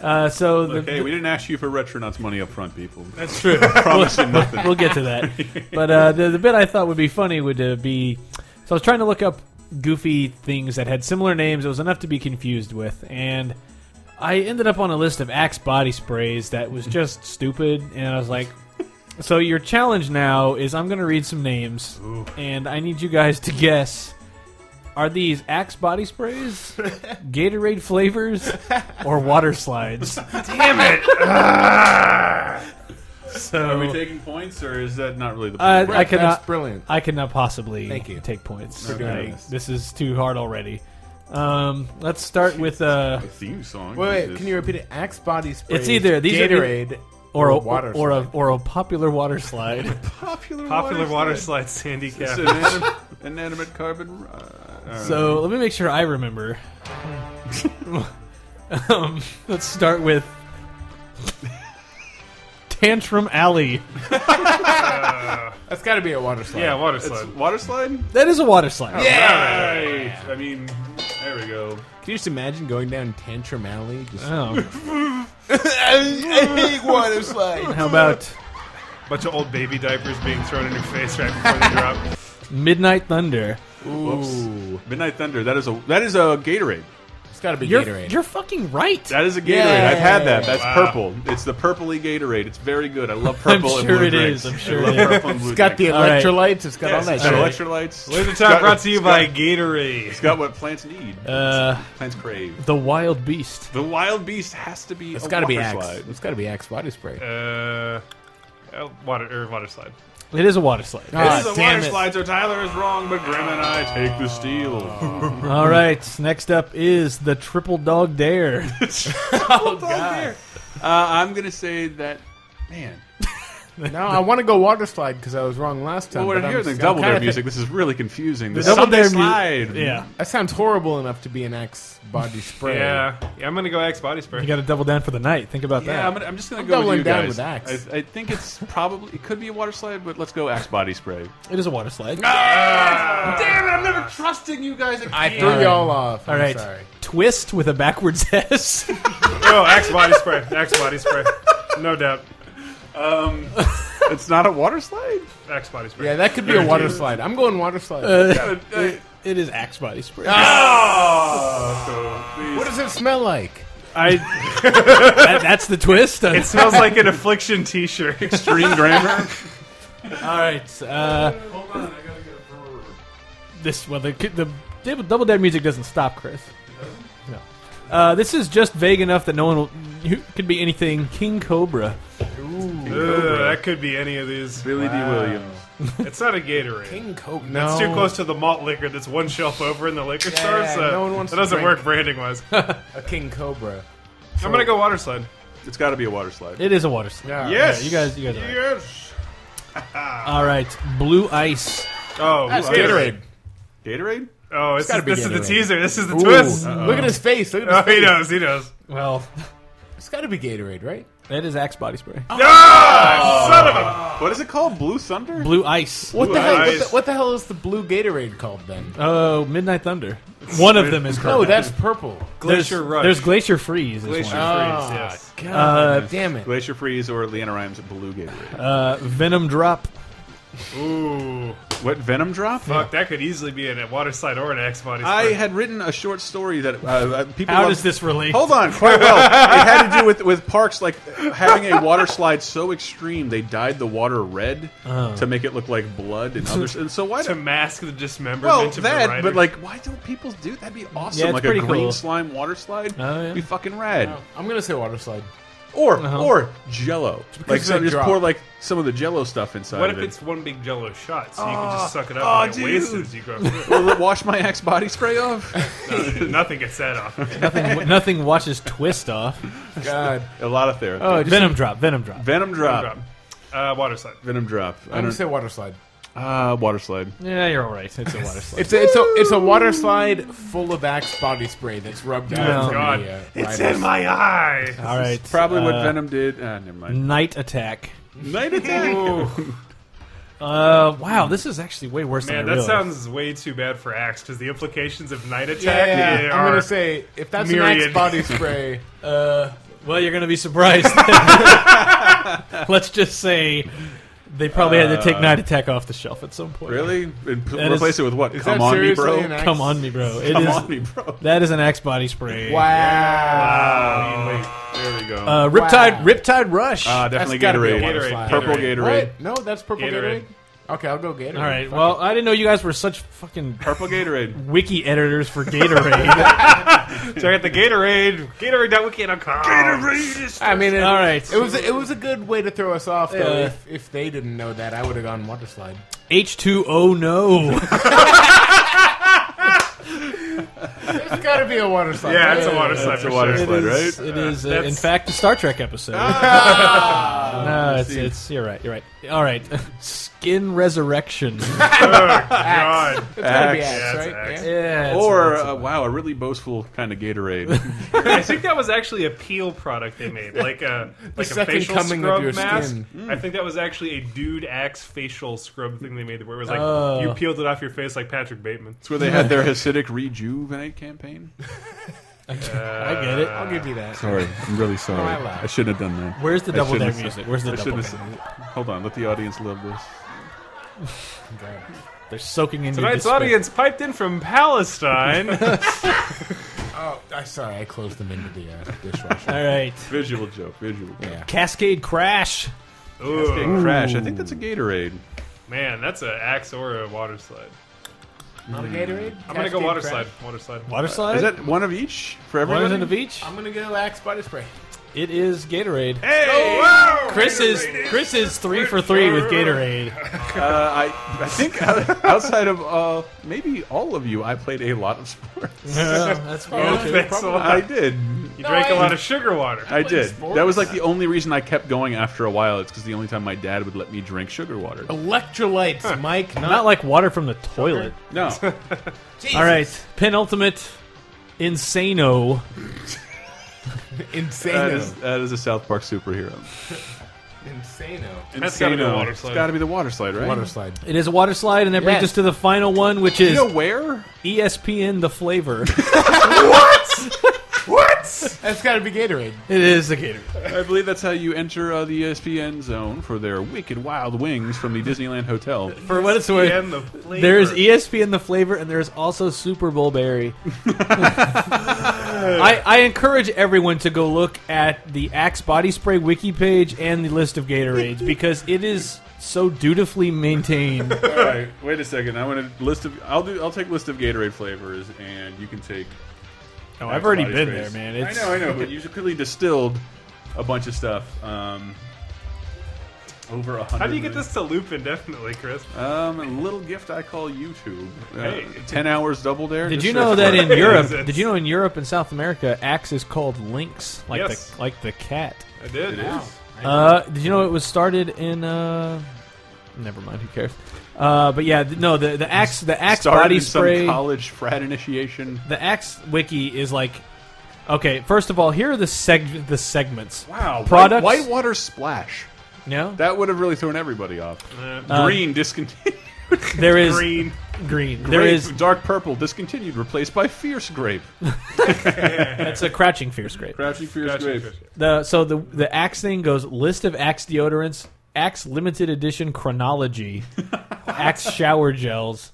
S3: Uh, so the,
S8: Hey, we didn't ask you for Retronauts money up front, people.
S3: that's true.
S8: Promising
S3: <laughs>
S8: nothing.
S3: we'll get to that. But uh, the, the bit I thought would be funny would uh, be so I was trying to look up goofy things that had similar names. It was enough to be confused with, and I ended up on a list of Axe body sprays that was just stupid. And I was like, so your challenge now is I'm going to read some names, and I need you guys to guess. Are these Axe body sprays, Gatorade flavors, or water slides? <laughs>
S8: Are we taking points, or is that not really the
S3: Uh,
S8: point?
S3: I cannot.
S6: That's brilliant.
S3: I cannot possibly
S6: Thank you.
S3: take points.
S6: doing
S3: Like,
S6: this.
S3: this is too hard already. Um, let's start with
S6: <laughs>
S3: uh,
S8: The theme song.
S6: Wait, wait,
S8: Jesus.
S6: can you repeat it? Axe body spray.
S3: It's either- these are-
S6: Gatorade
S3: or, a,
S6: water
S3: or
S6: slide.
S3: a or a popular water slide.
S6: <laughs>
S8: popular,
S5: Popular water slide, Sandy Cat.
S8: It's an anim- <laughs> inanimate carbon. Uh,
S3: so let me make sure I remember. <laughs> um, let's start with Tantrum Alley.
S6: That's got to be a water slide.
S5: Yeah, water
S8: it's
S5: slide.
S8: water slide.
S3: That is a water slide.
S8: Yeah. I mean, there we go.
S6: Can you just imagine going down Tantrum Alley? Just
S3: Oh,
S6: <laughs> I hate water slide.
S3: how about
S5: bunch of old baby diapers being thrown in your face right before they drop.
S3: Midnight Thunder?
S6: Ooh,
S8: Midnight Thunder. That is a that is a Gatorade.
S6: it's got to be
S3: You're
S6: Gatorade.
S3: you're fucking right.
S8: That is a Gatorade.
S6: Yay.
S8: I've had that. That's
S5: Wow.
S8: purple. It's the purpley Gatorade. It's very good. I love
S3: I'm
S8: purple. and
S3: sure
S8: blue
S3: it
S8: drinks.
S3: is. I'm sure
S8: I love
S3: it is.
S8: purple and blue
S6: it's got the
S3: All right.
S6: electrolytes. It's got all that
S8: drinks.
S6: shit.
S8: It's got electrolytes.
S5: Laser Time brought to you by Gatorade.
S8: It's got what plants need.
S3: Uh,
S8: plants crave.
S3: the Wild Beast.
S8: The wild beast has to be.
S6: It's
S8: a
S6: got to be
S8: water
S6: Axe.
S8: slide.
S6: It's got to be Axe body spray.
S5: <laughs> Uh, uh, water or water slide.
S3: It is a water slide.
S6: Ah,
S8: This is a
S6: damn
S8: water
S6: it.
S8: slide, so Tyler is wrong, but Grim and I take the steal.
S3: Oh. All right, next up is the Triple Dog Dare. <laughs> Oh,
S8: Uh, I'm gonna say that. Man,
S6: No, I want to go water slide because I was wrong last time.
S8: well, we're
S6: but I'm-
S8: hearing the
S6: I'm
S8: double
S6: kinda
S8: dare
S6: thi-
S8: music. This is really confusing. The,
S3: Double
S8: Sunday
S3: Dare mu-
S8: slide.
S3: Yeah.
S6: That sounds horrible enough to be an Axe body spray.
S5: Yeah. yeah, I'm gonna go Axe body spray.
S3: You got to double down for the night. Think about
S8: Yeah, I'm,
S3: that.
S8: gonna, I'm just gonna
S6: I'm
S8: go with
S6: doubling
S8: you
S6: down
S8: guys.
S6: with Axe.
S8: I, I
S6: <laughs>
S8: think it's probably it could be a water slide, but let's go axe body spray.
S3: It is a water slide.
S8: Damn it! I'm never trusting you guys.
S6: I threw y'all off.
S3: All
S6: I'm
S3: right,
S6: sorry.
S3: twist with a backwards <laughs> S.
S5: Oh, Axe body spray. Axe body spray. No doubt.
S8: It's not a water slide.
S5: Axe body spray.
S6: Yeah, that could be a water slide. I'm going water slide.
S3: it is Axe body spray.
S6: what does it smell like?
S5: I.
S3: That- that's the twist.
S5: It smells
S6: <laughs>
S5: like an affliction T-shirt.
S8: <laughs> Extreme
S3: <laughs>
S8: grammar.
S3: All right. Uh,
S8: Hold <laughs> on, I gotta get a brewer.
S3: this well, the, the double, double dare music doesn't stop, Chris. No. Uh, this is just vague enough that no one will, you- could be anything. King Cobra.
S5: Ugh, <laughs> that could be any of these.
S8: Billy D. Williams.
S5: It's not a Gatorade.
S6: King Cobra.
S5: It's
S6: No.
S5: too close to the malt liquor that's one shelf over in the liquor store.
S6: yeah,
S5: so
S6: no one wants
S5: that
S6: to
S5: doesn't
S6: drink.
S5: work branding
S6: <laughs>
S5: wise.
S6: A King Cobra.
S5: I'm gonna go water slide.
S8: It's got to be a water slide.
S3: It is a water slide.
S6: Yeah.
S5: Yes,
S3: you guys- you guys are right.
S5: Yes.
S3: All right, Blue Ice.
S5: Oh,
S6: That's
S5: wait.
S6: Gatorade.
S8: Gatorade?
S5: Oh, this,
S6: gotta
S5: is,
S6: be
S5: this is the
S6: Gatorade.
S5: teaser. This is the
S6: Ooh,
S5: twist. <laughs>
S6: Look at his face. Look
S5: Oh,
S6: at his
S5: he
S6: face.
S5: knows. He knows.
S3: Well,
S6: It's got to be Gatorade, right?
S3: that is Axe body spray.
S8: What is it called? Blue Thunder?
S3: Blue Ice.
S6: What the hell? What
S5: eyes.
S6: the, what the hell is the blue Gatorade called then?
S3: Oh, Midnight Thunder. One of them is
S6: No,
S3: called.
S6: that's purple.
S3: there's,
S5: Glacier Rush.
S3: there's Glacier Freeze. is
S5: Glacier
S3: one.
S5: Freeze.
S6: Ah,
S5: Yes.
S6: God, damn it!
S8: Glacier Freeze or Leanna Rhymes Blue <laughs> Gatorade?
S3: Uh, Venom Drop.
S5: Ooh,
S8: what, Venom Drop?
S5: fuck. That could easily be in a water slide or an X body.
S8: I
S5: spray.
S8: had written a short story that uh, uh, people.
S3: How
S8: love-
S3: does this relate?
S8: Hold on, quite well. it had to do with with parks like having a water slide so extreme they dyed the water red to make it look like blood and others. And so why?
S5: to
S8: do-
S5: mask the dismemberment
S8: Well,
S5: of the
S8: that,
S5: rider.
S8: but like, why don't people do? That'd be awesome.
S3: Yeah, it's
S8: like
S3: pretty
S8: a green
S3: cool.
S8: slime water slide,
S3: Oh, yeah.
S8: be fucking rad.
S6: I'm gonna say water slide.
S8: Or or Jello, like
S6: it's
S8: some,
S6: a
S8: just
S6: drop.
S8: pour like some of the Jello stuff inside.
S5: what
S8: of
S5: if
S8: it.
S5: it's one big Jello shot, so you can just suck it
S8: oh,
S5: up and it wastes
S8: dude.
S5: as you go through?
S8: <laughs> Will it wash my axe body spray off?
S5: it? No, Nothing gets that off.
S3: nothing, <laughs> nothing watches Twist off. Oh,
S6: God,
S8: a lot of therapy.
S3: Venom Drop. Venom Drop.
S8: Venom drop.
S5: Drop. Uh, water slide.
S8: Venom drop. I
S6: I'm gonna
S8: don't.
S6: say water slide.
S8: Uh, water slide.
S3: yeah, you're all right. It's a water slide.
S6: It's a, it's a it's a water slide full of Axe body spray that's rubbed out.
S3: Oh,
S6: from
S5: God.
S6: the, uh,
S5: it's
S6: riders.
S5: in my eye.
S3: all right.
S8: Probably what
S3: uh,
S8: Venom did. Ah, never mind.
S3: Night Attack.
S8: Night attack.
S3: Uh, wow, this is actually way worse
S5: Man,
S3: than I
S5: that
S3: realized.
S5: sounds way too bad for Axe because the implications of night attack
S6: Yeah,
S5: eh,
S6: I'm
S5: are
S6: gonna say if that's an
S5: myriad.
S6: Axe
S5: <laughs>
S6: body spray,
S3: Well, you're going to be surprised. <laughs> Let's just say they probably had to take Night Attack off the shelf at some point.
S8: really? And p-
S3: That
S8: replace
S3: is-
S8: it with what?
S6: is
S8: Come
S6: that
S8: on me,
S6: seriously
S8: bro.
S6: an Axe?
S3: Come on me, bro. It
S8: Come
S3: is-
S8: on me, bro.
S3: That is an axe body spray.
S5: Oh,
S6: Wow.
S8: There we go.
S3: Uh, Riptide, Riptide Rush.
S8: Ah, definitely
S6: gotta be a
S8: Gatorade.
S6: water
S5: Gatorade,
S6: slide.
S8: Purple
S5: Gatorade.
S8: Gatorade.
S6: What? No, that's purple
S5: Gatorade.
S6: Gatorade. Okay, I'll go Gatorade.
S3: All right.
S6: Fuck
S3: Well, I didn't know you guys were such fucking
S8: Purple Gatorade.
S3: wiki editors for Gatorade. <laughs>
S5: Check out the Gatorade. Gatorade.wiki.com. Gatorade is
S6: I mean, it,
S3: All right.
S6: It was it was a good way to throw us off though.
S3: Yeah.
S6: If, if they didn't know that, I would have gone water slide.
S3: H2O no.
S6: There's got to be a water slide.
S5: Yeah, it's a water slide.
S8: That's
S5: for
S8: a water
S5: sure.
S8: slide,
S3: It's-
S8: right?
S3: It is, uh,
S5: that's-
S3: in fact, a Star Trek episode.
S8: Ah,
S3: <laughs> no, it's, it's you're right. You're right. All right, <laughs> Skin
S8: <laughs>
S3: Resurrection.
S5: God.
S6: It's got to be axe,
S8: Axe.
S5: Yeah, it's
S6: right?
S5: axe.
S6: Yeah.
S3: yeah, it's-
S8: Or uh, wow, a really boastful kind of Gatorade.
S5: I think that was actually a peel product they made, like a like a
S6: second
S5: facial
S6: coming of
S5: scrub
S6: your
S5: mask.
S6: skin. Mm.
S5: I think that was actually a dude axe facial scrub thing they made, where it was like
S3: Oh.
S5: you peeled it off your face like Patrick Bateman.
S8: That's where they had their Hasidic rejuvenate campaign.
S3: I get it.
S6: I'll give you that.
S8: Sorry, I'm really sorry.
S6: I laughed.
S8: I shouldn't have done that.
S3: Where's the
S8: I
S3: double
S8: shouldn't
S3: dare
S8: have
S3: music?
S8: said-
S3: Where's the
S8: I
S3: double
S8: shouldn't have said- Hold on, let the audience love this.
S3: They're soaking in your
S5: Tonight's
S3: despair.
S5: audience piped in from
S6: <laughs>
S5: Palestine.
S6: Oh, I sorry, I closed them into the uh,
S5: <laughs>
S6: dishwasher.
S3: All right,
S8: Visual joke. Visual. joke.
S3: Cascade Crash.
S5: Ooh,
S8: Big crash. I think that's a Gatorade.
S5: man, that's an axe or a water slide.
S6: Not a Gatorade.
S5: I'm gonna go water slide. Water slide.
S3: Water slide.
S8: Uh, Is that one of each for
S3: One
S8: everyone?
S3: in the beach.
S6: I'm gonna go axe body spray.
S3: It is Gatorade.
S8: Hey!
S3: Chris is Chris is three for three with Gatorade.
S8: Uh, I, I think out- outside of uh, maybe all of you, I played a lot of sports.
S3: Yeah, that's
S5: Oh,
S3: probably-
S5: thanks a lot.
S8: I did.
S5: You drank a
S6: I-
S5: lot of sugar
S6: <laughs>
S5: water.
S8: I did.
S6: sports?
S8: That was like the only reason I kept going after a while. It's because the only time my dad would let me drink sugar water.
S6: Electrolytes, Mike. Not,
S3: not like water from the toilet.
S8: <laughs> No.
S6: Jesus.
S3: All right, penultimate, Insano.
S8: That
S6: Insano.
S8: is, that is a South Park superhero.
S6: Insano.
S5: That's gotta be a
S8: Insano.
S5: water
S8: It's
S5: slide.
S8: got to be the water slide, right?
S6: Water slide.
S3: It is a water slide, and that brings
S6: Yes.
S3: us to the final one, which is E
S8: You know where?
S3: ESPN the flavor.
S6: That's got to be Gatorade.
S3: it is the Gatorade.
S8: I believe that's how you enter uh, the ESPN zone for their wicked wild wings from the Disneyland
S5: <laughs>
S8: Hotel.
S3: For what it's worth,
S5: And the flavor.
S3: there is E
S6: E
S3: ESPN the flavor, and there is also Super Bowl berry. I, I encourage everyone to go look at the Axe body spray wiki page and the list of Gatorades because it is so dutifully maintained.
S8: All right, wait a second. I want a list of. I'll do. I'll take list of Gatorade flavors, and you can take
S3: Oh, I've already
S8: Everybody's
S3: been there,
S8: crazy.
S3: man. It's,
S8: I know, I know, but you quickly distilled a bunch of stuff. Um, over a hundred.
S5: How do you get
S8: million-
S5: this to loop indefinitely, Chris?
S8: Um, a little gift I call YouTube. Uh,
S5: Hey.
S8: ten hours double dare.
S3: Did
S8: just
S3: you
S8: search
S3: know
S8: for
S3: that
S8: it.
S3: in Europe?
S5: It's-
S3: Did you know in Europe and South America, axe is called lynx, like
S5: Yes.
S3: the like the cat.
S5: I did.
S8: It is.
S3: Uh, did you know it was started in? Uh, never mind. Who cares? Uh, but yeah, th- no. The the axe the axe
S8: Started
S3: body
S8: in
S3: spray.
S8: Some college frat initiation.
S3: the axe wiki is like, okay. First of all, here are the seg the segments.
S8: Wow.
S3: Products-
S8: White, whitewater splash.
S3: No,
S8: That would have really thrown everybody off. green discontinued.
S3: there Uh, is
S5: Uh, Green.
S3: green. There
S8: Grape,
S3: is
S8: dark purple discontinued, replaced by
S5: <laughs>
S8: fierce grape.
S3: that's a crouching fierce grape.
S8: Crouching fierce grape.
S3: The so the the axe thing goes list of axe deodorants, axe limited edition <laughs> chronology, axe shower gels,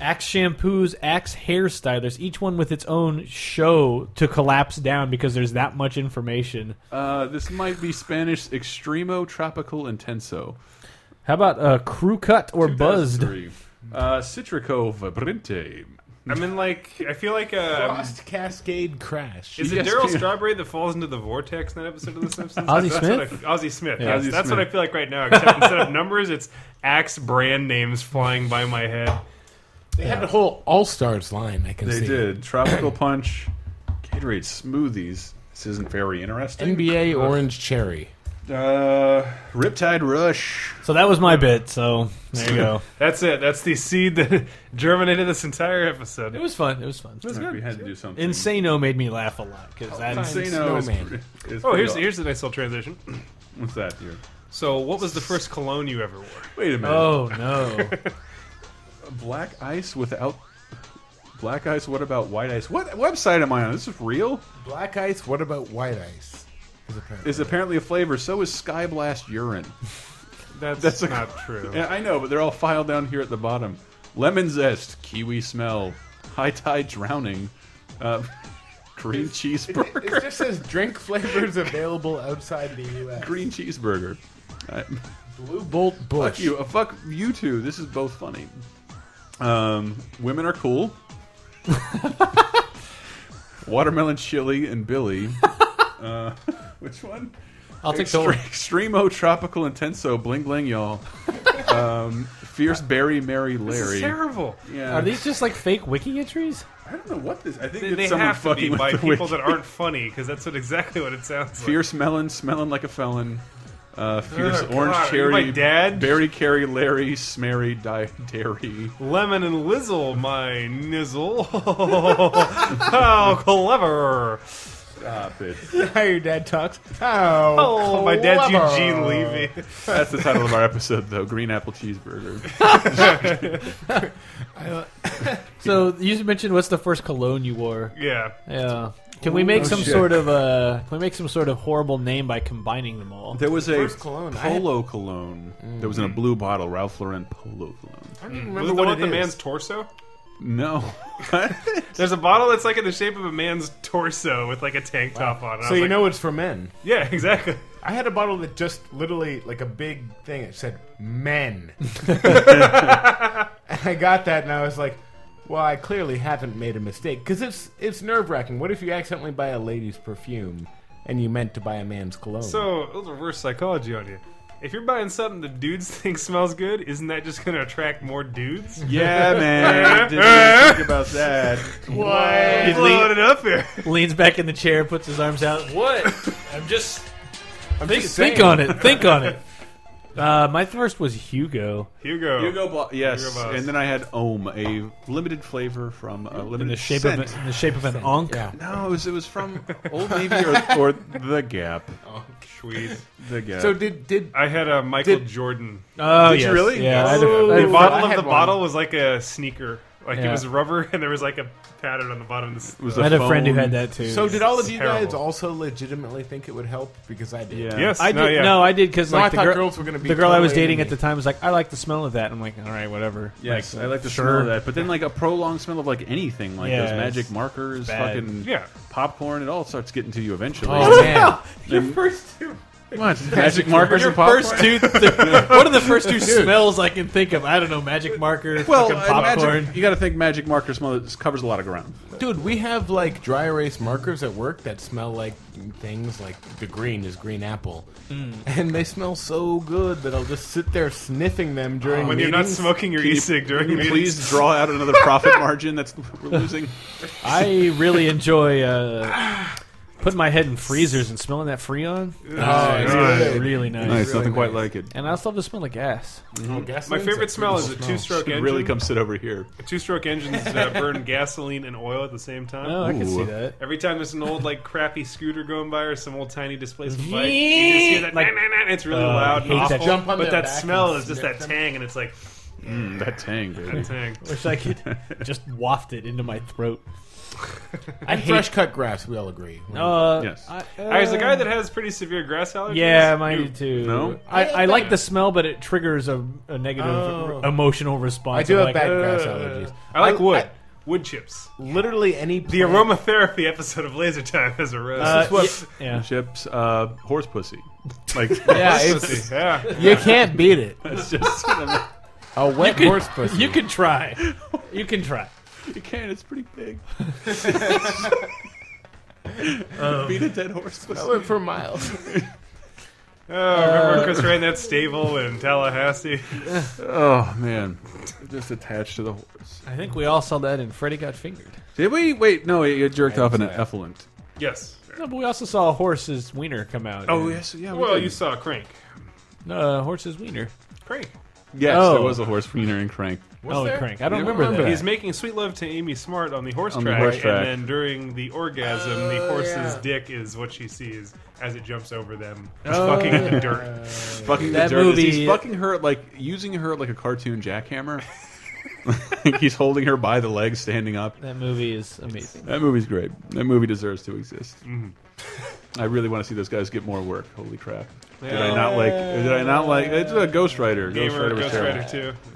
S3: axe shampoos, axe hair stylers, each one with its own show to collapse down because there's that much information.
S8: Uh, this might be Spanish extremo tropical intenso.
S3: How about uh crew cut or buzzed?
S8: 2003. Uh, Citrico Vibrante.
S5: I'm in like I feel like uh,
S6: Frost Cascade Crash.
S5: is it
S8: Yes,
S5: Daryl
S8: Peter.
S5: Strawberry that falls into the vortex in that episode of The Simpsons?
S3: Ozzie
S5: That's what
S3: Smith?
S5: I- Ozzie Smith.
S8: Yeah.
S5: yes.
S8: Ozzie
S5: that's what
S8: Smith.
S5: I feel like right now. Except instead of numbers, it's axe brand names flying by my head.
S6: They had a whole All Stars line. I can
S8: They
S6: see
S8: did tropical punch, Gatorade smoothies. This isn't very interesting.
S6: NBA Orange Cherry.
S8: Uh, Riptide Rush.
S3: So that was my bit. So there you go.
S5: That's it. That's the seed that <laughs> germinated this entire
S3: <laughs>
S5: episode.
S3: It was fun. It was fun.
S8: We had to do something.
S3: Insano made me laugh a lot because that's
S8: Insano is,
S6: Snowman.
S8: is
S5: oh, here's
S8: pretty
S5: here's a nice little transition.
S8: awesome. what's that here?
S5: So, what was the first cologne you ever wore?
S8: Wait a minute.
S3: oh <laughs> no.
S8: Black ice without black ice. What about white ice? What website am I on? Is this real?
S6: Black ice. What about white ice? Is apparently-
S8: Is apparently a flavor. So is Sky Blast urine.
S5: That's,
S8: That's a-
S5: not true.
S8: Yeah, I know, but they're all filed down here at the bottom. Lemon zest, kiwi smell, high tide drowning, uh, <laughs> green
S6: It
S8: cheeseburger, <laughs>
S6: just says drink flavors available outside the U.S.
S8: green cheeseburger. I,
S6: Blue Bolt Bush.
S8: fuck you, uh, fuck you two. This is both funny. Um, women are cool. Watermelon chili and Billy. Uh, <laughs> which one?
S3: I'll take the
S8: Extre- Extremo tropical intenso bling bling y'all. Um, fierce Barry Mary
S5: This
S8: Larry.
S5: is terrible.
S8: Yeah.
S3: Are these just like fake wiki entries?
S8: I don't know what this. I think
S5: They,
S8: it's
S5: they
S8: someone
S5: have to
S8: fucking
S5: be
S8: with
S5: by
S8: the
S5: people
S8: wiki.
S5: that aren't funny because that's what exactly what it sounds like.
S8: <laughs> Fierce melon, smelling like a felon. Uh, fierce
S5: Oh, God,
S8: orange
S5: are you
S8: cherry.
S5: my dad?
S8: Berry carry Larry smerry di- dairy.
S5: Lemon and Lizzle, my nizzle. <laughs> How clever!
S8: Stop it.
S6: How your dad talks. How?
S5: Oh, my dad's
S6: clever.
S5: Eugene Levy.
S8: That's the title of our episode, though. Green apple cheeseburger.
S3: So you mentioned what's the first cologne you wore?
S5: Yeah.
S3: Yeah. Can we make
S6: Oh,
S3: some
S6: shit.
S3: sort of uh Can we make some sort of horrible name by combining them all?
S8: There was a
S6: First cologne. I had-
S8: polo cologne that was in a blue bottle. Ralph Lauren polo cologne.
S6: I don't even
S5: Was
S6: remember
S5: it the one
S6: what
S5: with
S6: it
S5: the
S6: is.
S5: man's torso?
S8: <laughs> No.
S5: There's a bottle that's like in the shape of a man's torso with like a tank top on it. I
S6: So
S5: was
S6: you
S5: like,
S6: know it's for men.
S5: Yeah, <laughs> exactly.
S6: I had a bottle that just literally like a big thing. It said "men," and I got that, and I was like, "Well, I clearly haven't made a mistake because it's it's nerve wracking. What if you accidentally buy a lady's perfume and you meant to buy a man's cologne?"
S5: So, a little reverse psychology on you. If you're buying something the dudes <laughs> think smells good, isn't that just going to attract more dudes?
S8: yeah, <laughs> man. Didn't even think about that.
S5: Why? Blowing it up here. <laughs>
S3: Leans back in the chair, puts his arms out. What? I'm just
S6: I'm
S3: think,
S6: just
S3: think
S6: saying.
S3: on it. Think on
S6: <laughs>
S3: it. Uh, my first was Hugo
S5: Hugo.
S8: Hugo Boss. Yes.
S5: Hugo Boss.
S8: And then I had Ohm, a limited flavor from a limited
S3: in the shape
S8: scent.
S3: of a, in the shape of an onk.
S6: Yeah.
S8: No, it was, it was from Old Navy or, or The Gap.
S5: Sweet.
S8: The Gap.
S6: So did did
S5: I had a Michael
S6: Did-
S5: Jordan.
S3: Oh,
S8: Did you
S3: yes.
S8: really?
S3: Yeah. I had a-
S6: Oh.
S3: I had
S5: The
S3: a-
S5: bottle
S6: I
S5: of
S6: had
S5: the
S6: one.
S5: bottle was like a sneaker. Like it
S3: Yeah.
S5: was rubber <laughs> and there was like a pattern on the bottom of the s-
S8: it was
S3: I had a friend who
S8: phone.
S3: had that too.
S6: so did all of you
S5: Terrible.
S6: guys also legitimately think it would help because I did.
S8: Yeah.
S5: Yes.
S3: I did
S5: no,
S3: no,
S5: yeah.
S3: I did because
S6: No, I
S3: like the
S6: thought
S3: girl,
S6: girls were gonna be
S3: the girl I was
S6: totally
S3: dating
S6: into
S3: at the time was like, I like the smell of that. I'm like, all right, whatever.
S8: Yes, I like the
S3: sure.
S8: smell of that. But then, like a prolonged smell of like anything, like
S3: Yeah,
S8: those magic
S3: it's
S8: markers,
S3: bad. Oh.
S8: fucking
S5: Yeah.
S6: <laughs>
S8: popcorn, it all starts getting to you eventually.
S6: Oh man.
S3: Your first two.
S8: <laughs> What? Magic markers and popcorn?
S3: First two, <laughs> one of the first two smells I can think of. I don't know, magic marker,
S8: <laughs> well,
S3: fucking
S8: uh, magic-
S3: popcorn.
S8: you got to think magic marker smell that covers a lot of ground.
S6: Dude, we have like dry erase markers at work that smell like things like the green is green apple. And they smell so good that I'll just sit there sniffing them during
S5: When you're not
S6: meetings.
S5: smoking your
S8: Can you-
S5: e-cig during
S8: can you
S5: meetings.
S8: please draw out another profit margin that's we're losing.
S3: I really enjoy uh, putting my head in freezers and smelling that Freon.
S6: Uh, Nice.
S3: really nice.
S8: Nice, nothing quite like it.
S3: And I also love the smell of gas.
S5: <laughs> My favorite smell is a two-stroke
S8: Should
S5: engine.
S8: really come sit over here.
S5: Two-stroke engines uh, burn gasoline and oil at the same time.
S3: Oh, I can see
S8: Ooh.
S3: that.
S5: Every time there's an old like crappy scooter going by or some old tiny displacement bike, you just hear that
S3: Like-
S5: nah, nah, nah, and it's really
S3: Uh,
S5: loud
S3: I
S5: and
S3: hate
S5: awful.
S3: that. Jump
S6: on
S5: but
S6: their
S5: that
S6: back
S5: smell
S6: and
S5: is just
S6: sniff
S5: that
S6: them.
S5: tang, and it's like
S8: Mm, that tang, baby.
S5: tang.
S3: Wish I could just waft it into my throat. I hate. <laughs>
S6: Fresh cut grass, we all agree.
S3: uh,
S8: Yes.
S3: I,
S5: I was the guy that has pretty severe grass allergies.
S3: Yeah, mine do too.
S8: No?
S3: I, I like the smell, but it triggers a, a negative
S6: Oh.
S3: emotional response.
S6: I do
S3: of
S6: have
S3: like,
S6: bad
S3: "Ugh."
S6: grass allergies.
S5: I like wood.
S6: I-
S5: wood chips.
S6: literally any
S5: The aromatherapy episode of Laser Time has a
S3: <laughs>
S5: rose.
S3: Uh,
S6: what-
S3: y- yeah.
S8: Chips, uh, horse <laughs> pussy. Like,
S6: Yeah, it's,
S5: Pussy, <laughs> yeah.
S6: you can't beat it.
S8: <laughs> it's just
S6: A wet horse pussy.
S3: You can try. You can try.
S8: you can. It's pretty <laughs> big. Beat a dead horse pussy.
S6: went for miles.
S5: Oh, remember Chris ran that stable in Tallahassee? <laughs>
S8: Oh man, just attached to the horse.
S3: I think we all saw that in Freddy Got Fingered.
S8: Did we? Wait, no. You jerked off in an effluent.
S5: Yes.
S3: No, but we also saw a horse's wiener come out.
S8: Oh yes, yeah. we
S5: Well,
S8: did.
S5: you saw Crank.
S3: No, a horse's wiener.
S5: Crank.
S8: Yes,
S3: Oh.
S8: there was a horse wiener and crank.
S3: oh,
S6: there?
S3: crank. I don't
S8: You
S3: remember,
S6: remember
S3: that.
S5: He's making sweet love to Amy Smart on the horse,
S8: On the
S5: track,
S8: horse track.
S5: and then during the orgasm, the horse's
S6: yeah.
S5: dick is what she sees as it jumps over them,
S8: Oh,
S5: just fucking in the dirt.
S8: Fucking
S3: That
S8: the dirt.
S3: movie-
S8: He's fucking her like using her like a cartoon <laughs> jackhammer. Like, he's holding her by the leg, standing up.
S3: That movie is amazing.
S8: That movie's great. That movie deserves to exist.
S5: Mm-hmm.
S8: <laughs> I really want to see those guys get more work. Holy crap! Did I not like? Did I not like? It's a Ghost Rider. Ghost
S5: Gamer,
S8: Rider was
S5: Ghost
S8: terrible.
S5: Rider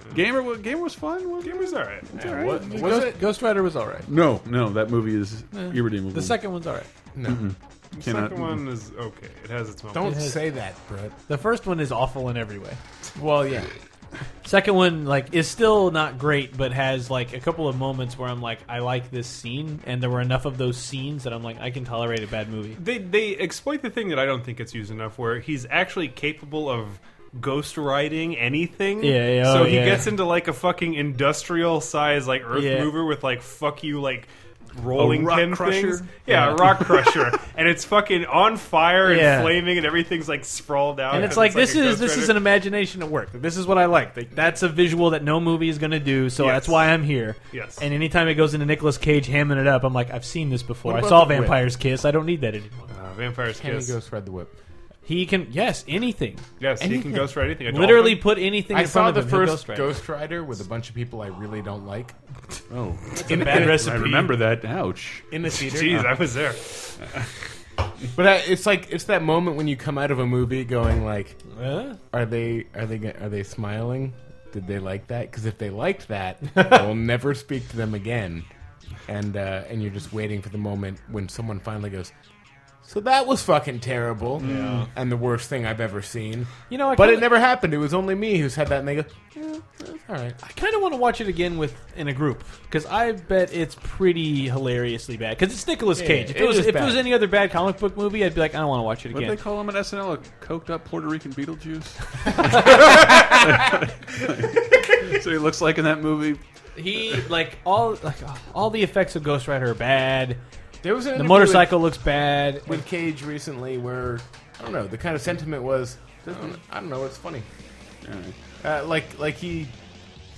S5: too.
S8: Gamer, wa- Gamer was fun. wasn't it?
S5: Gamer's alright.
S6: Ghost, Ghost Rider was alright.
S8: No, no, that movie is irredeemable.
S3: Eh. The second one's alright.
S5: The
S8: Cannot-
S5: second one is okay. It has its moments.
S6: Don't say that, Brett.
S3: The first one is awful in every way.
S6: Well, yeah.
S3: Second one, like, is still not great, but has like a couple of moments where I'm like, I like this scene, and there were enough of those scenes that I'm like, I can tolerate a bad movie.
S5: They they exploit the thing that I don't think it's used enough, where he's actually capable of ghost riding anything.
S3: Yeah, yeah,
S5: So
S3: oh,
S5: he
S3: yeah.
S5: gets into like a fucking industrial size like earth
S3: Yeah.
S5: mover with like fuck you like rolling
S8: rock
S5: pin
S8: crusher?
S5: things. Yeah,
S3: <laughs>
S5: a rock crusher, and it's fucking on fire and
S3: Yeah.
S5: flaming, and everything's like sprawled out.
S3: And it's like this
S5: a
S3: is
S5: Ghost
S3: this is
S5: Rider.
S3: an imagination at work. This is what I like. Like, that's a visual that no movie is going to do, so
S5: Yes.
S3: that's why I'm here.
S5: Yes.
S3: And anytime it goes into Nicolas Cage hamming it up, I'm like, I've seen this before.
S6: What
S3: I
S6: about
S3: saw
S6: The Whip?
S3: Vampire's Kiss. I don't need that anymore.
S5: uh, vampire's
S6: Can
S5: kiss.
S6: he Ghost Ride the Whip?
S3: He can yes anything.
S5: yes, he can ghost ride anything. A
S3: Literally
S5: dolphin.
S3: put anything
S6: I
S3: in
S6: saw
S3: front
S6: the
S3: of him. he'll
S6: first
S3: Ghost Rider.
S6: Ghost Rider with a bunch of people I really don't like
S8: oh,
S3: It's a bad
S8: I
S3: recipe.
S8: remember that. Ouch.
S6: in the theater.
S5: Jeez, I was there.
S6: But I, it's like it's that moment when you come out of a movie going like,
S3: <laughs> Huh?
S6: are they are they go- are they smiling? Did they like that? Because if they liked that, I
S3: <laughs>
S6: will never speak to them again. And uh, and you're just waiting for the moment when someone finally goes. So that was fucking terrible, and the worst thing I've ever seen.
S3: You know, I
S6: But
S3: kinda-
S6: it never happened. It was only me who said that, and they go, "Yeah, that's all right."
S3: I kind of want to watch it again with in a group because I bet it's pretty hilariously bad. Because it's Nicolas Cage. if
S6: it
S3: it was
S6: is
S3: if
S6: bad.
S3: it was any other bad comic book movie, I'd be like, I don't want to watch it
S8: What
S3: again.
S8: did they call him at SNL? A coked up Puerto Rican
S5: <laughs>
S8: Beetlejuice? <laughs> so he looks like in that movie.
S3: he like all like all the effects of Ghost Rider are bad.
S6: There was an
S3: The
S6: interview
S3: motorcycle looks bad.
S6: with, with Cage recently where I don't know the kind of sentiment was I don't, I don't know it's funny, uh, like like he,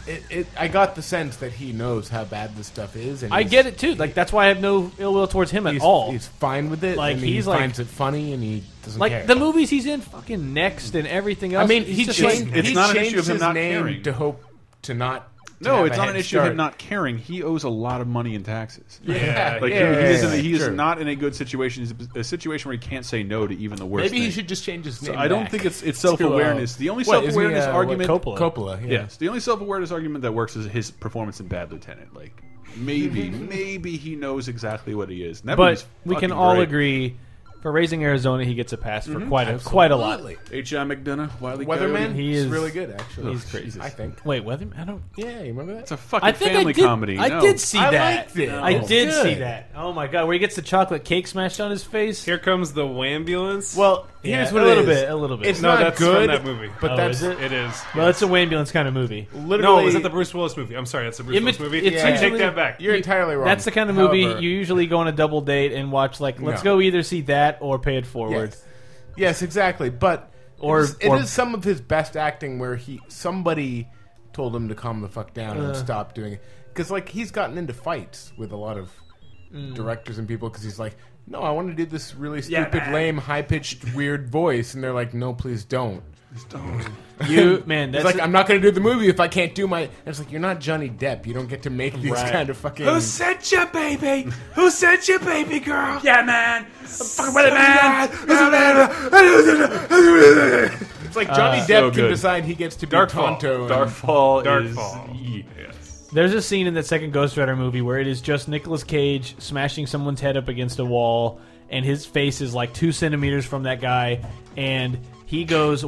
S6: it, it I got the sense that he knows how bad this stuff is and
S3: I
S6: he's-
S3: get it too. Like that's why I have no ill will towards him at
S6: he's,
S3: all.
S6: he's fine with it
S3: Like,
S6: and
S3: he's
S6: he
S3: like-
S6: finds it funny and he doesn't
S3: like
S6: care.
S3: the movies he's in, fucking next and everything else.
S6: I mean
S3: he's
S6: he
S3: just
S6: changed
S3: like,
S8: It's
S6: he
S8: not an
S6: changed
S8: issue of him
S6: his
S8: not
S6: name
S8: caring.
S6: to hope to not to
S8: No,
S6: have
S8: it's
S6: a
S8: not an
S6: head
S8: issue of
S6: start.
S8: him not caring. He owes a lot of money
S5: <laughs>
S8: in taxes.
S5: Yeah,
S8: Like
S5: yeah.
S8: he, he is, in a,
S6: yeah,
S8: he is
S6: true.
S8: not in a good situation. He's a situation where he can't say no to even the worst.
S6: maybe he
S8: thing.
S6: should just change his name
S8: I don't
S6: back
S8: think it's it's
S6: to, uh,
S8: self awareness. The only
S6: what,
S8: self
S6: isn't he,
S8: awareness
S6: uh, what,
S8: argument.
S3: Coppola?
S6: Coppola yeah.
S8: Yes, the only self awareness argument that works is his performance in Bad Lieutenant. Like
S6: <laughs>
S8: maybe maybe he knows exactly what he is. And that
S3: but
S8: movie's
S3: we can
S8: fucking
S3: all
S8: great.
S3: agree For raising Arizona, he gets a pass for quite a quite a lot.
S6: Absolutely.
S8: H.I. McDonough, Wiley
S6: Weatherman.
S3: He
S6: he's
S3: is-
S6: really good, actually.
S3: he's crazy.
S6: I think.
S3: Wait, Weatherman? I don't.
S6: Yeah, you remember that?
S8: It's a fucking
S3: I think
S8: family
S3: I did,
S8: comedy.
S3: I
S8: no.
S3: did see
S6: I
S3: that.
S6: liked it.
S3: I
S6: Oh,
S3: did see
S6: good.
S3: that. Oh my god, where he gets the chocolate cake smashed on his face.
S5: Here comes the wambulance.
S3: well,
S6: here's
S3: yeah,
S6: what
S3: a
S6: it
S3: little
S6: is.
S3: bit, a little bit.
S6: It's
S5: no,
S6: not
S5: that's
S6: good,
S5: from that movie.
S6: But
S3: Oh,
S6: that's
S3: is it?
S5: it is.
S3: well, it's a ambulance kind of movie.
S6: literally
S5: no, is that the Bruce Willis movie? I'm sorry, that's the Bruce
S3: Im-
S5: Willis movie.
S3: it's
S5: I take
S3: usually-
S5: that back.
S6: You're entirely wrong.
S3: That's the kind of movie
S6: However,
S3: you usually go on a double date and watch. Like, let's
S6: No.
S3: go either see that or Pay It Forward.
S6: Yes. Yes, exactly. But
S3: Or-
S6: it is, it
S3: or-
S6: is some of his best acting where he somebody told him to calm the fuck down
S3: Uh.
S6: and stop doing it because like he's gotten into fights with a lot of
S3: Mm.
S6: directors and people because he's like, no, I want to do this really stupid, lame, high pitched, weird voice, and they're like, no, please don't. <laughs>
S3: You man, that's
S6: It's like I'm not going to do the movie if I can't do my. And it's like you're not Johnny Depp. You don't get to make these
S3: Right.
S6: kind of fucking.
S10: Who sent you, baby? Who sent you, baby girl? Yeah, man. I'm fucking with it, man.
S6: It's like Johnny Depp
S8: so
S6: can
S8: good.
S6: decide he gets to be
S5: Darkfall.
S6: Tonto. and-
S8: Darkfall.
S5: Darkfall.
S8: Is,
S5: Yes.
S3: There's a scene in that second Ghost Rider movie where it is just Nicolas Cage smashing someone's head up against a wall, and his face is like two centimeters from that guy, and he goes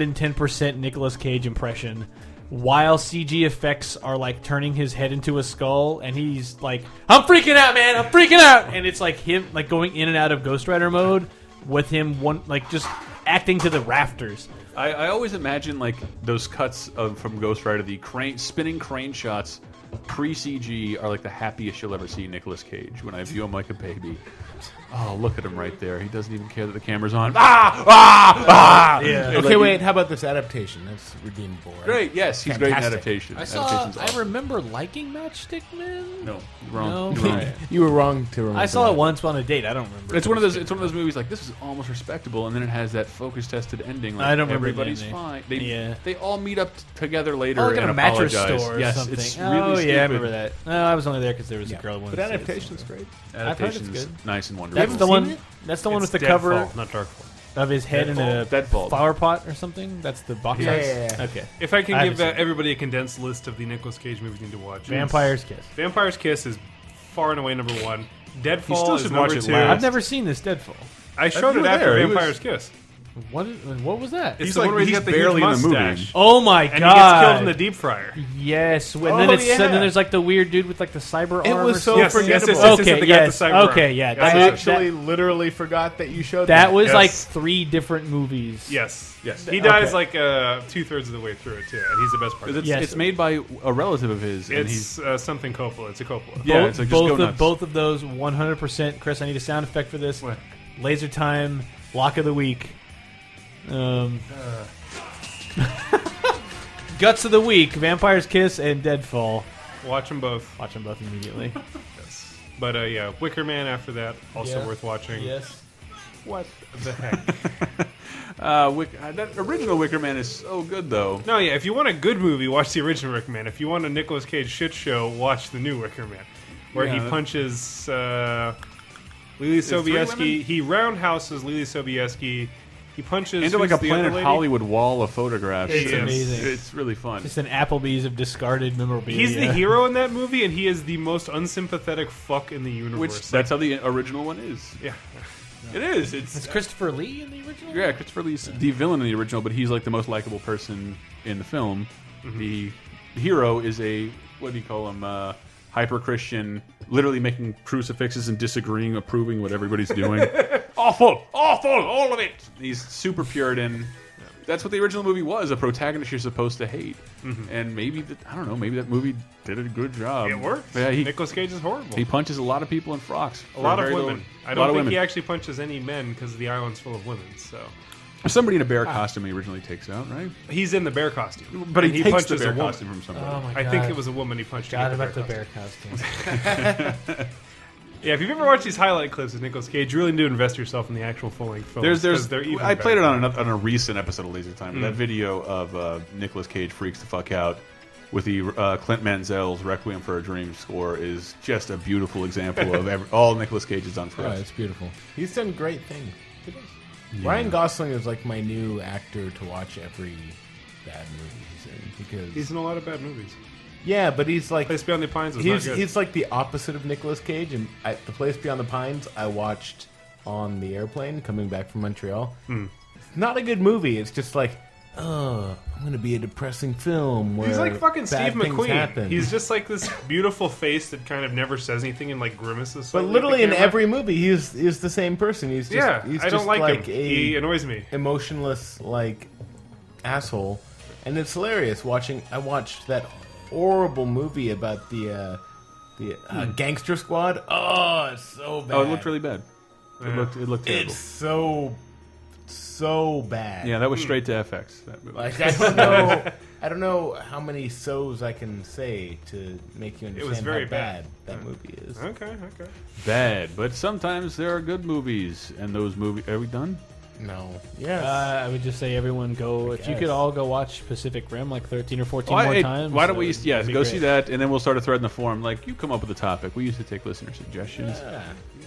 S3: 110% Nicolas Cage impression, while CG effects are like turning his head into a skull, and he's like, "I'm freaking out, man! I'm freaking out!" And it's like him like going in and out of Ghost Rider mode with him one like just acting to the rafters.
S8: I, I always imagine like those cuts of from Ghost Rider, the crane spinning crane shots pre CG are like the happiest you'll ever see Nicolas Cage when I view him like a baby. Oh, look at him right there. He doesn't even care that the camera's on. Ah, ah, ah. Yeah.
S6: Okay, wait. How about this adaptation? That's redeemable. Right?
S8: Great. Yes, he's great in
S6: Fantastic.
S8: adaptation.
S3: I saw.
S8: Adaptation's
S3: I
S8: awesome.
S3: remember liking Matchstick Men.
S8: No, wrong.
S3: No.
S8: You're wrong.
S6: <laughs> You were wrong to remember.
S3: I saw
S6: that.
S3: it once on a date. I don't remember.
S8: It's one of those. It's one of those movies like this is almost respectable, and then it has that focus tested ending. Like
S3: I don't remember the
S8: everybody's
S3: ending.
S8: fine. They
S3: Yeah.
S8: they all meet up t- together later
S3: Oh, like at
S8: and
S3: a mattress
S8: apologize.
S3: store or
S8: yes,
S3: something.
S8: it's really
S3: oh yeah, I
S8: stupid.
S3: remember that. No, I was only there because there was a girl. who wanted
S6: But
S3: to see it,
S6: adaptation's
S3: so-
S6: great.
S3: I've heard it's
S8: Adaptation's
S3: good.
S8: nice and wonderful.
S3: That's the one. That's the one
S5: It's
S3: with the
S5: Deadfall,
S3: cover
S5: not Darkfall.
S3: of his head in a
S8: Deadfall.
S3: flower pot or something. That's the box.
S6: Yeah,
S3: art?
S6: yeah, yeah.
S3: Okay.
S5: If I can
S3: I
S5: give uh,
S3: haven't seen
S5: everybody a condensed list of the Nicolas Cage movies you need to watch,
S3: Vampire's Kiss.
S5: Vampire's Kiss is far and away number one. Deadfall
S8: still
S5: is
S8: should
S5: number
S8: watch it
S5: two.
S8: last.
S3: I've never seen this Deadfall.
S5: I showed
S8: you
S5: it
S8: were
S5: after
S8: there. He
S5: Vampire's
S8: was-
S5: Kiss.
S3: What? is- What was that?
S5: It's
S8: He's
S5: the
S8: like-
S5: one where he's
S8: he's
S5: got the
S8: barely
S5: huge
S8: in the movie.
S5: mustache.
S3: oh my
S5: And he
S3: god!
S5: gets killed in the deep fryer.
S3: Yes, and then
S6: Oh,
S3: it's and
S6: yeah.
S3: then there's like the weird dude with like the cyber
S6: It
S3: arm.
S6: was
S3: or
S6: so
S3: something.
S5: Yes, yes, yes,
S6: forgettable.
S5: yes, yes,
S3: okay,
S5: the guy
S3: yes,
S5: with the cyber
S3: okay,
S5: arm.
S3: yeah.
S5: Yes,
S3: that-
S6: I
S5: yes,
S3: that-
S6: actually literally forgot that you showed
S3: That was
S5: Yes.
S3: like three different movies.
S5: Yes, yes.
S3: Okay.
S5: He dies like uh, two thirds of the way through it too, and he's the best part.
S8: It's,
S5: It's,
S3: Yes.
S8: it's made by a relative of his, and he's
S5: it's uh, something Coppola. It's a Coppola.
S8: yeah.
S3: both,
S8: It's like just
S3: both
S8: go
S3: of
S8: nuts.
S3: both of those 100%. Chris, I need a sound effect for this.
S5: What?
S3: Laser time lock of the week. Um, <laughs> Guts of the week, Vampire's Kiss and Deadfall.
S5: Watch them both.
S3: Watch them both
S8: <laughs>
S3: immediately.
S5: Yes. But uh, yeah, Wicker Man after that also
S3: Yeah.
S5: worth watching.
S3: yes.
S6: What?
S5: <laughs> The heck.
S8: Uh, Wick, uh, that original Wicker Man is so good though.
S5: No, yeah. If you want a good movie, watch the original Wicker Man. If you want a Nicolas Cage shit show, watch the new Wicker Man, where
S8: Yeah,
S5: he
S8: that-
S5: punches uh, Lily
S8: three women?
S5: Sobieski. He roundhouses Lily Sobieski. He punches
S8: Into like
S5: who's
S8: a
S5: the other
S8: Planet
S5: lady?
S8: Hollywood wall of photographs.
S5: It's amazing.
S8: It's really fun.
S3: Just an Applebee's of discarded memorabilia. <laughs>
S5: He's the hero in that movie, and he is the most unsympathetic fuck in the universe.
S8: Which that's how the original one is.
S5: yeah.
S8: It is. It's
S3: Is Christopher Lee in the original?
S8: Yeah, Christopher Lee's the villain in the original, but he's like the most likable person in the film. The hero is a what do you call him? Uh, Hyper Christian, literally making crucifixes and disagreeing, approving what everybody's doing. awful, awful, all of it. He's super Puritan. That's what the original movie was—a protagonist you're supposed to hate. And maybe that, I don't know. Maybe that movie did a good job.
S5: Mm-hmm. It works.
S8: Um, Yeah, he,
S5: Nicolas Cage is horrible.
S8: he punches a lot of people in frocks.
S5: a lot of women. I don't think
S8: women.
S5: he actually punches any men because the island's full of women. So
S8: Somebody in a
S5: Ah.
S8: bear costume he originally takes out, right?
S5: he's in the bear costume,
S8: But he,
S5: And
S8: takes
S5: punches
S8: the
S5: a
S8: bear
S5: woman.
S8: costume from somebody.
S3: Oh my god.
S5: I think it was a woman he punched. to get
S3: God
S5: the
S3: about the
S5: bear costume.
S3: bear costume.
S5: Yeah, if you've ever watched these highlight clips of Nicolas Cage, you really need to invest yourself in the actual full length film.
S8: There's, there's,
S5: Oh, they're even
S8: I played
S5: better.
S8: it
S5: Mm.
S8: on, another, on a recent episode of Laser Time. That video of uh, Nicolas Cage freaks the fuck out with the uh, Clint Mansell's "Requiem for a Dream" score is just a beautiful
S5: <laughs>
S8: example of every, all Nicolas Cage has done for
S6: Oh,
S8: us.
S6: it's beautiful. He's done great things. It is. Ryan Gosling is like my new actor to watch every bad movie he's in because
S5: He's in a lot of bad movies.
S6: yeah, but he's like
S5: Place Beyond the Pines was
S6: he's
S5: not good.
S6: he's like the opposite of Nicolas Cage. And I, the Place Beyond the Pines, I watched on the airplane coming back from Montreal.
S5: Hmm.
S6: It's not a good movie. It's just like, oh, I'm going to be a depressing film. Where
S5: He's like fucking
S6: bad
S5: Steve
S6: things
S5: McQueen.
S6: Happen.
S5: He's just like this beautiful face that kind of never says anything and like grimaces.
S6: but
S5: slightly at
S6: literally
S5: the
S6: in
S5: camera.
S6: every movie, he's is the same person. He's just,
S5: yeah,
S6: he's
S5: I
S6: just
S5: don't like, him.
S6: a
S5: he annoys me.
S6: emotionless like asshole and it's hilarious watching i watched that horrible movie about the uh the uh,
S5: Hmm.
S6: gangster squad oh it's so bad
S8: Oh, it looked really bad. It looked it looked terrible.
S6: it's so so bad
S8: yeah, that was straight to FX. That
S6: <laughs>
S8: movie.
S6: like i
S5: <laughs>
S6: don't know i don't know how many so's i can say to make you understand
S5: was very
S6: how
S5: bad.
S6: bad, that movie is
S5: Okay, okay.
S8: bad, but sometimes there are good movies, and those movies. Are we done?
S6: no yes
S3: Uh, I would just say everyone go. If you could
S6: guess.
S3: all go watch Pacific Rim like thirteen or fourteen
S8: Why,
S3: more
S8: hey,
S3: times.
S8: why don't
S3: that
S8: we?
S3: would
S8: Yeah,
S3: be
S8: go
S3: great.
S8: see that, and then we'll start a thread in the forum. Like you come up with a topic. We used to take listener suggestions.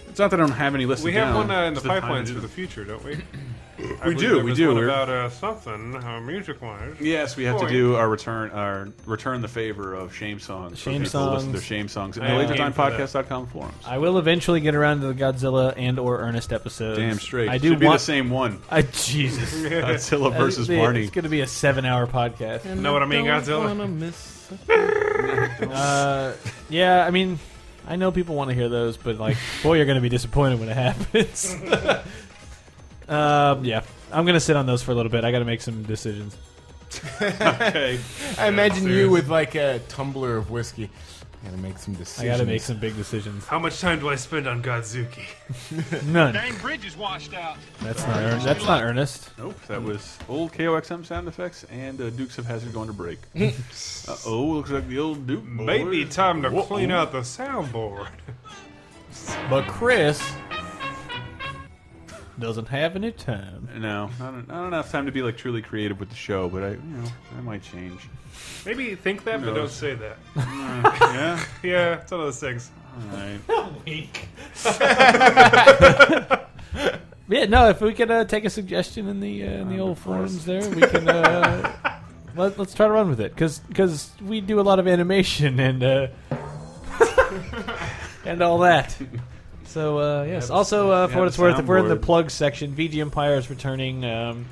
S8: It's not that I don't have any listed
S5: We have
S8: down,
S5: one uh, in the
S8: it's time to
S5: pipelines
S8: do
S5: for the
S8: them.
S5: future, don't
S8: <coughs>
S5: we?
S8: We do, we do.
S5: What
S8: We're-
S5: about uh, something uh, music-wise?
S8: Yes, we have to
S5: Point.
S8: do our return, our return the favor of shame songs. for
S3: Shame
S8: people to Listen to
S3: songs.
S8: their shame songs in
S5: I
S8: the
S5: am
S8: later
S5: game
S8: time
S5: for that.
S8: podcast.com forums.
S3: I will eventually get around to the Godzilla and or Ernest episodes.
S8: Damn straight.
S3: I do
S8: Should be
S3: want.
S8: the same one.
S3: I, Jesus.
S8: Godzilla <laughs> versus
S3: It's-
S8: Barney.
S3: It's going to be a seven-hour podcast.
S5: Know what I mean, Godzilla?
S3: Uh, yeah, I mean, I know people want to hear those, but like, boy, you're going to be disappointed when it happens. <laughs> um, yeah, I'm going to sit on those for a little bit. I got to make some decisions.
S8: <laughs> Okay.
S6: i imagine you
S5: serious.
S6: with like a tumbler of whiskey i gotta make some decisions
S3: I got to make some big decisions.
S5: How much time do I spend on Godzuki?
S3: None.
S11: bridge is washed out.
S3: That's not. Earn- that's not earnest.
S8: Nope, that was old KOXM sound effects and uh, Dukes of Hazard going
S3: <laughs>
S8: to break. uh oh, looks like the old Duke. boy.
S5: Maybe time to
S8: Whoa.
S5: clean out the soundboard.
S3: But Chris doesn't have any time.
S8: No, I don't, I don't have time to be like truly creative with the show, but I, you know, I
S3: <laughs>
S8: might change.
S5: Maybe think that, but don't
S8: knows?
S5: say that.
S8: yeah,
S5: Yeah, it's one of those things.
S8: all right.
S3: Yeah, no. If we could uh, take a suggestion in the uh, in the old forums there, we can uh,
S5: <laughs>
S3: let, let's try to run with it because we do a lot of animation and
S5: <laughs>
S3: uh, and all that. So uh, yes. Also, uh, for
S8: yeah,
S3: what
S8: the
S3: it's worth, if we're in the
S8: soundboard.
S3: plug section, VG Empire is returning. Um,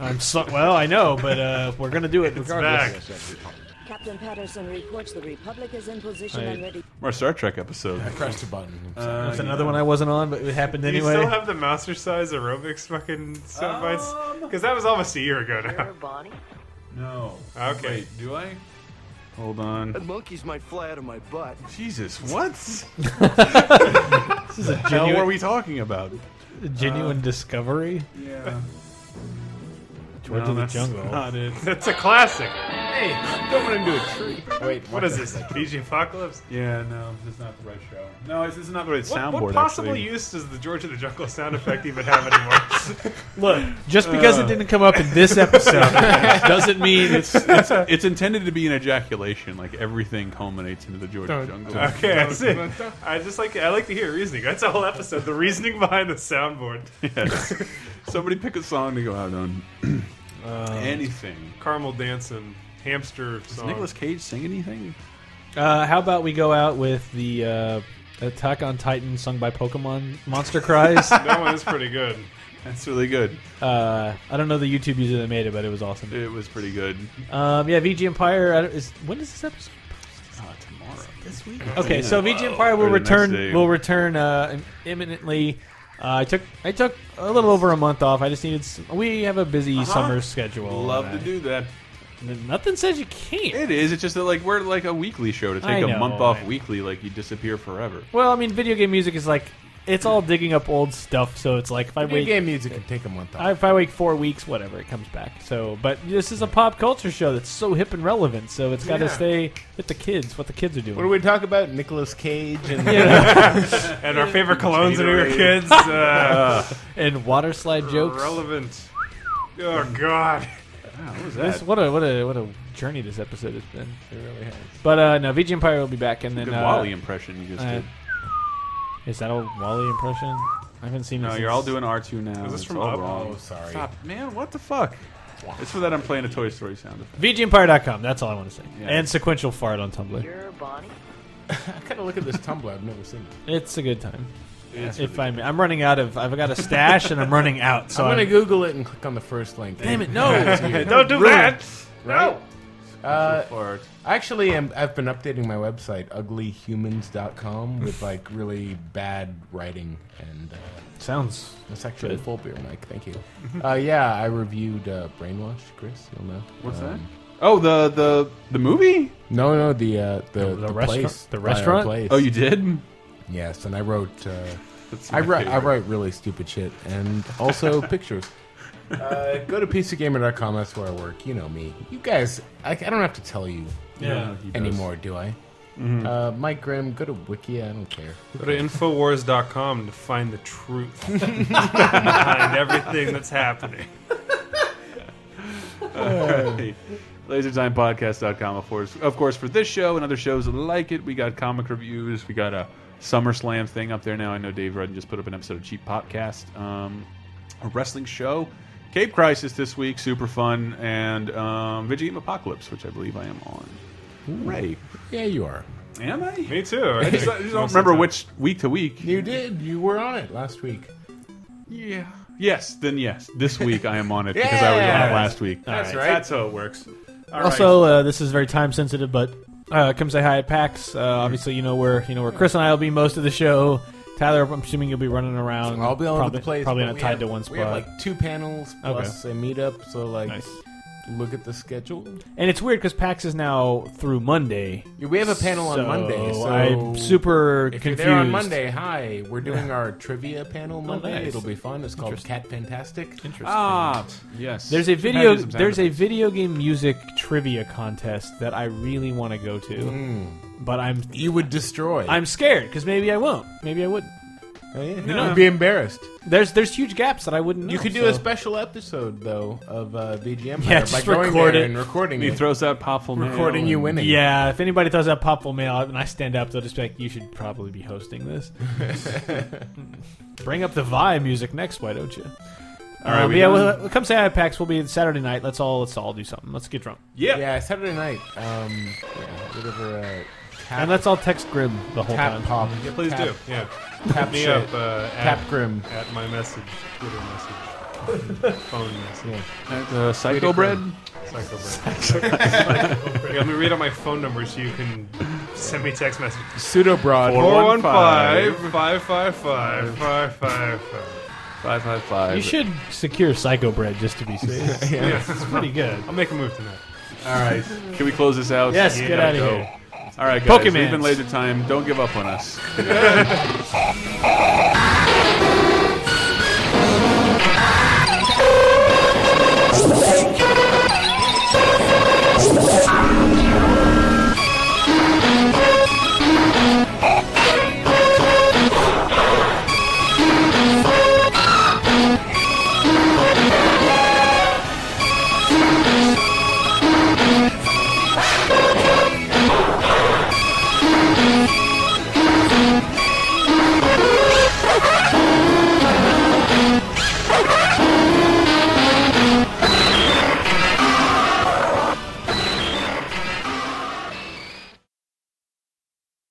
S3: I'm so, well, I know, but uh, we're gonna do it regardless.
S5: Back.
S12: Captain Patterson reports the Republic is in position
S3: Right.
S12: and ready.
S8: Our Star Trek episode.
S6: press a button
S3: That's another one I wasn't on, but it happened
S5: Do you
S3: anyway.
S5: still have the Mouser size aerobics fucking sound bites? Because that was almost a year ago
S7: <laughs>
S5: now.
S12: Bonnie?
S8: No.
S5: Okay.
S8: Wait, do I? Hold on.
S10: Monkeys might fly out of my butt.
S8: Jesus,
S3: <laughs>
S8: what?
S3: this is a
S8: Hell, what are
S3: genuine,
S8: we talking about?
S3: genuine
S5: Uh.
S3: discovery.
S8: <laughs> Yeah.
S3: George of the Jungle.
S8: Not it.
S5: That's a classic.
S8: Don't want into a tree.
S6: wait
S5: What is this? PG Apocalypse?
S8: Yeah, no, this is not the right show. No, this is not the right
S5: What,
S8: soundboard.
S5: what possible
S8: actually. <laughs>
S5: use does the George of the Jungle sound effect even have anymore?
S3: Look, just because
S5: Uh.
S3: it didn't come up in this episode
S5: <laughs>
S3: doesn't mean it's.
S8: it's, it's intended to be an ejaculation. Like everything culminates into the George Jungle.
S5: okay, I see. I just like I like to hear reasoning. That's a whole episode. The reasoning behind the soundboard.
S8: <laughs> Yes. Somebody pick a song to go
S3: <clears throat>
S8: out on. <clears throat> anything.
S5: Caramel dancing, hamster
S8: Does
S5: song.
S8: Nicolas Cage sing anything?
S3: Uh, how about we go out with the uh, Attack on Titan sung by Pokemon Monster Cries?
S8: <laughs>
S3: uh,
S5: that one is pretty good.
S8: That's really good.
S3: I don't know the YouTube user that made it, but it was awesome.
S8: It was pretty good.
S3: Um, yeah, VG Empire I don't- is when is this episode?
S8: Uh, tomorrow.
S3: This week. Okay, so VG
S8: Wow.
S3: Empire will
S8: Or the next
S3: return.
S8: day.
S3: Will return uh, imminently. Uh, I took I took a little over a month off. I just needed. Some, we have a busy summer schedule.
S8: Uh-huh. Love to
S3: and
S8: do that.
S3: I- Nothing says you can't.
S8: It is. It's just that like we're like a weekly show to
S3: I
S8: take a
S3: know,
S8: month off
S3: I-
S8: weekly. Like you disappear forever.
S3: Well, I mean, video game music is like it's all digging up old stuff. So it's like if I
S6: Video
S3: wait,
S6: game music can take a month off.
S3: I, if I wait four weeks, whatever, it comes back. So, but this is a pop culture show that's so hip and relevant. So it's got to
S5: Yeah.
S3: stay with the kids, what the kids are doing.
S6: What do we talk about? Nicolas Cage <laughs> and
S3: <laughs>
S5: And our favorite colognes when we were
S8: Gatorade.
S5: kids. Uh,
S3: and water slide jokes.
S5: relevant. Oh God.
S8: What was
S3: This-
S8: that?
S3: what a what a what a journey this episode has been. It really has. But uh, no, VG Empire will be back, and then
S8: Good
S3: uh,
S8: Wally impression you just
S3: uh,
S8: did.
S3: is that a Wally impression? I haven't seen. it
S8: No,
S3: since-
S8: you're all doing R2 now. Is
S5: this
S8: it's
S5: from
S8: all
S5: Up?
S8: wrong.
S6: Oh, sorry.
S8: Stop, Oh, man. What the fuck? It's for that I'm playing a Toy Story sound effect.
S3: VGEmpire.com. That's all I want to say.
S8: Yeah.
S3: And sequential fart on Tumblr.
S12: Your Bonnie?
S6: I gotta look at this Tumblr. I've never seen it.
S3: It's a good time.
S8: It's
S3: if I'm, I'm running out of, I've got a stash and I'm running out. So
S6: I'm gonna
S3: I'm-
S6: Google it and click on the first link.
S3: Damn
S6: <laughs>
S3: it, no.
S5: Don't do that.
S6: Right?
S8: so
S6: Uh,
S8: far.
S6: I actually am, I've been updating my website, uglyhumans.com, with like really bad writing. And uh,
S3: sounds
S6: that's actually a
S3: Good.
S6: full beer, Mike. Thank you. uh, yeah, I reviewed uh, Brainwash, Chris. You'll know.
S8: What's
S6: Um,
S8: that? Oh, the the the movie.
S6: No, no, the uh, the,
S3: The-
S6: the,
S3: the restaurant-
S6: place,
S3: the
S6: by our
S3: restaurant?
S6: place.
S8: Oh, you did.
S6: Yes, and I wrote. Uh,
S8: That's
S6: I
S8: my
S6: write. I
S8: favorite.
S6: write really stupid shit, and also
S8: <laughs>
S6: pictures. Uh, go to pizagamer.com. That's where I work. You know me. You guys, I, I don't have to tell you
S8: Yeah, he does.
S6: anymore, do I?
S3: Mm-hmm.
S6: Uh, Mike Grimm, go to Wiki. I don't care.
S5: Go to Infowars.com to find the
S6: <laughs>
S5: truth behind everything that's happening.
S8: <laughs> LaserTimePodcast.com, of course. Of course, for this show and other shows like it, we got comic reviews. We got a SummerSlam thing up there now. I know Dave Rudden just put up an episode of Cheap Podcast, um, a wrestling show. Cape Crisis this week, super fun, and um, Video Game Apocalypse, which I believe I am on. Ray,
S6: Yeah, you are.
S8: am I?
S5: Me too. I
S8: I just, I just don't remember which week to week.
S6: You did. You were on it last week.
S8: Yeah. Yes, then yes. This week I am on it because I was on
S6: Yeah.
S8: it last week.
S6: That's right.
S5: That's how it works. All
S3: also, uh, this is very time sensitive, but uh, come say hi at PAX. Uh, obviously, you know where you know where Chris and I will be most of the show. Tyler, I'm assuming you'll be running around.
S6: I'll be all
S3: Um, probably,
S6: over the place.
S3: Probably
S6: but
S3: not
S6: we
S3: tied
S6: have-
S3: to one
S6: We have
S3: spot.
S6: like two panels
S3: Okay.
S6: plus a meetup. So like,
S3: Nice.
S6: look at the schedule.
S3: and it's weird because PAX is now through Monday.
S6: Yeah, We have a panel
S3: so
S6: on Monday. So
S3: I'm super
S6: If
S3: confused. Oh,
S6: you're there on Monday, hi. We're doing our trivia panel Monday.
S3: nice.
S6: It'll be fun. It's called Cat Fantastic.
S3: Interesting.
S8: Ah, yes.
S3: There's a
S8: Should have
S3: video.
S8: you some sound
S3: There's a
S8: effects.
S3: video game music trivia contest that I really want to go to,
S6: Hmm.
S3: but I'm
S6: You would destroy.
S3: I'm scared because maybe I won't. Maybe I wouldn't.
S6: Oh, yeah. You'd be embarrassed.
S3: There's there's huge gaps that I wouldn't. Know,
S6: You could do
S3: so.
S6: a special episode though of uh, VGM
S3: Yeah,
S6: by
S3: just
S6: going
S3: record
S6: there
S3: it.
S6: and recording
S8: He
S6: it,
S8: throws out Popful Mail
S6: recording you
S8: and-
S6: winning.
S3: Yeah, if anybody throws that popful mail out and I stand up, they'll just be like, "You should probably be hosting this."
S8: <laughs>
S3: Bring up the vibe music next, why don't you? All
S8: right,
S3: right,
S8: we
S3: yeah,
S8: done?
S3: well, come say hi at PAX. We'll be Saturday night. Let's all let's all do something. Let's get drunk
S8: Yeah.
S6: Yeah, Saturday night. Um, yeah, whatever. Uh, tap,
S3: and let's all text Grim the whole
S6: tap
S3: time.
S6: pop.
S5: Please
S6: tap,
S5: do. Yeah.
S6: Tap
S5: Me
S6: shit.
S5: up uh,
S6: Tap
S5: at,
S6: grim.
S5: at my message, Twitter message,
S6: <laughs>
S5: phone message.
S8: Uh, Psycho Bread.
S5: Psycho
S6: <laughs>
S5: Break. Let me read out my phone number so you can send me text messages.
S6: Pseudo broad.
S8: 415.
S5: 415-555-555.
S8: Five five five.
S3: You should secure Psycho Bread just to be
S8: <laughs>
S3: safe.
S5: Yes.
S3: Pretty good.
S5: I'll make a move tonight.
S8: All right. Can we close this out?
S3: Yes, get
S8: Yeah,
S3: out of
S8: go.
S3: here.
S8: All right, guys.
S3: Pokemans.
S8: We've been laser time. Don't give up on us.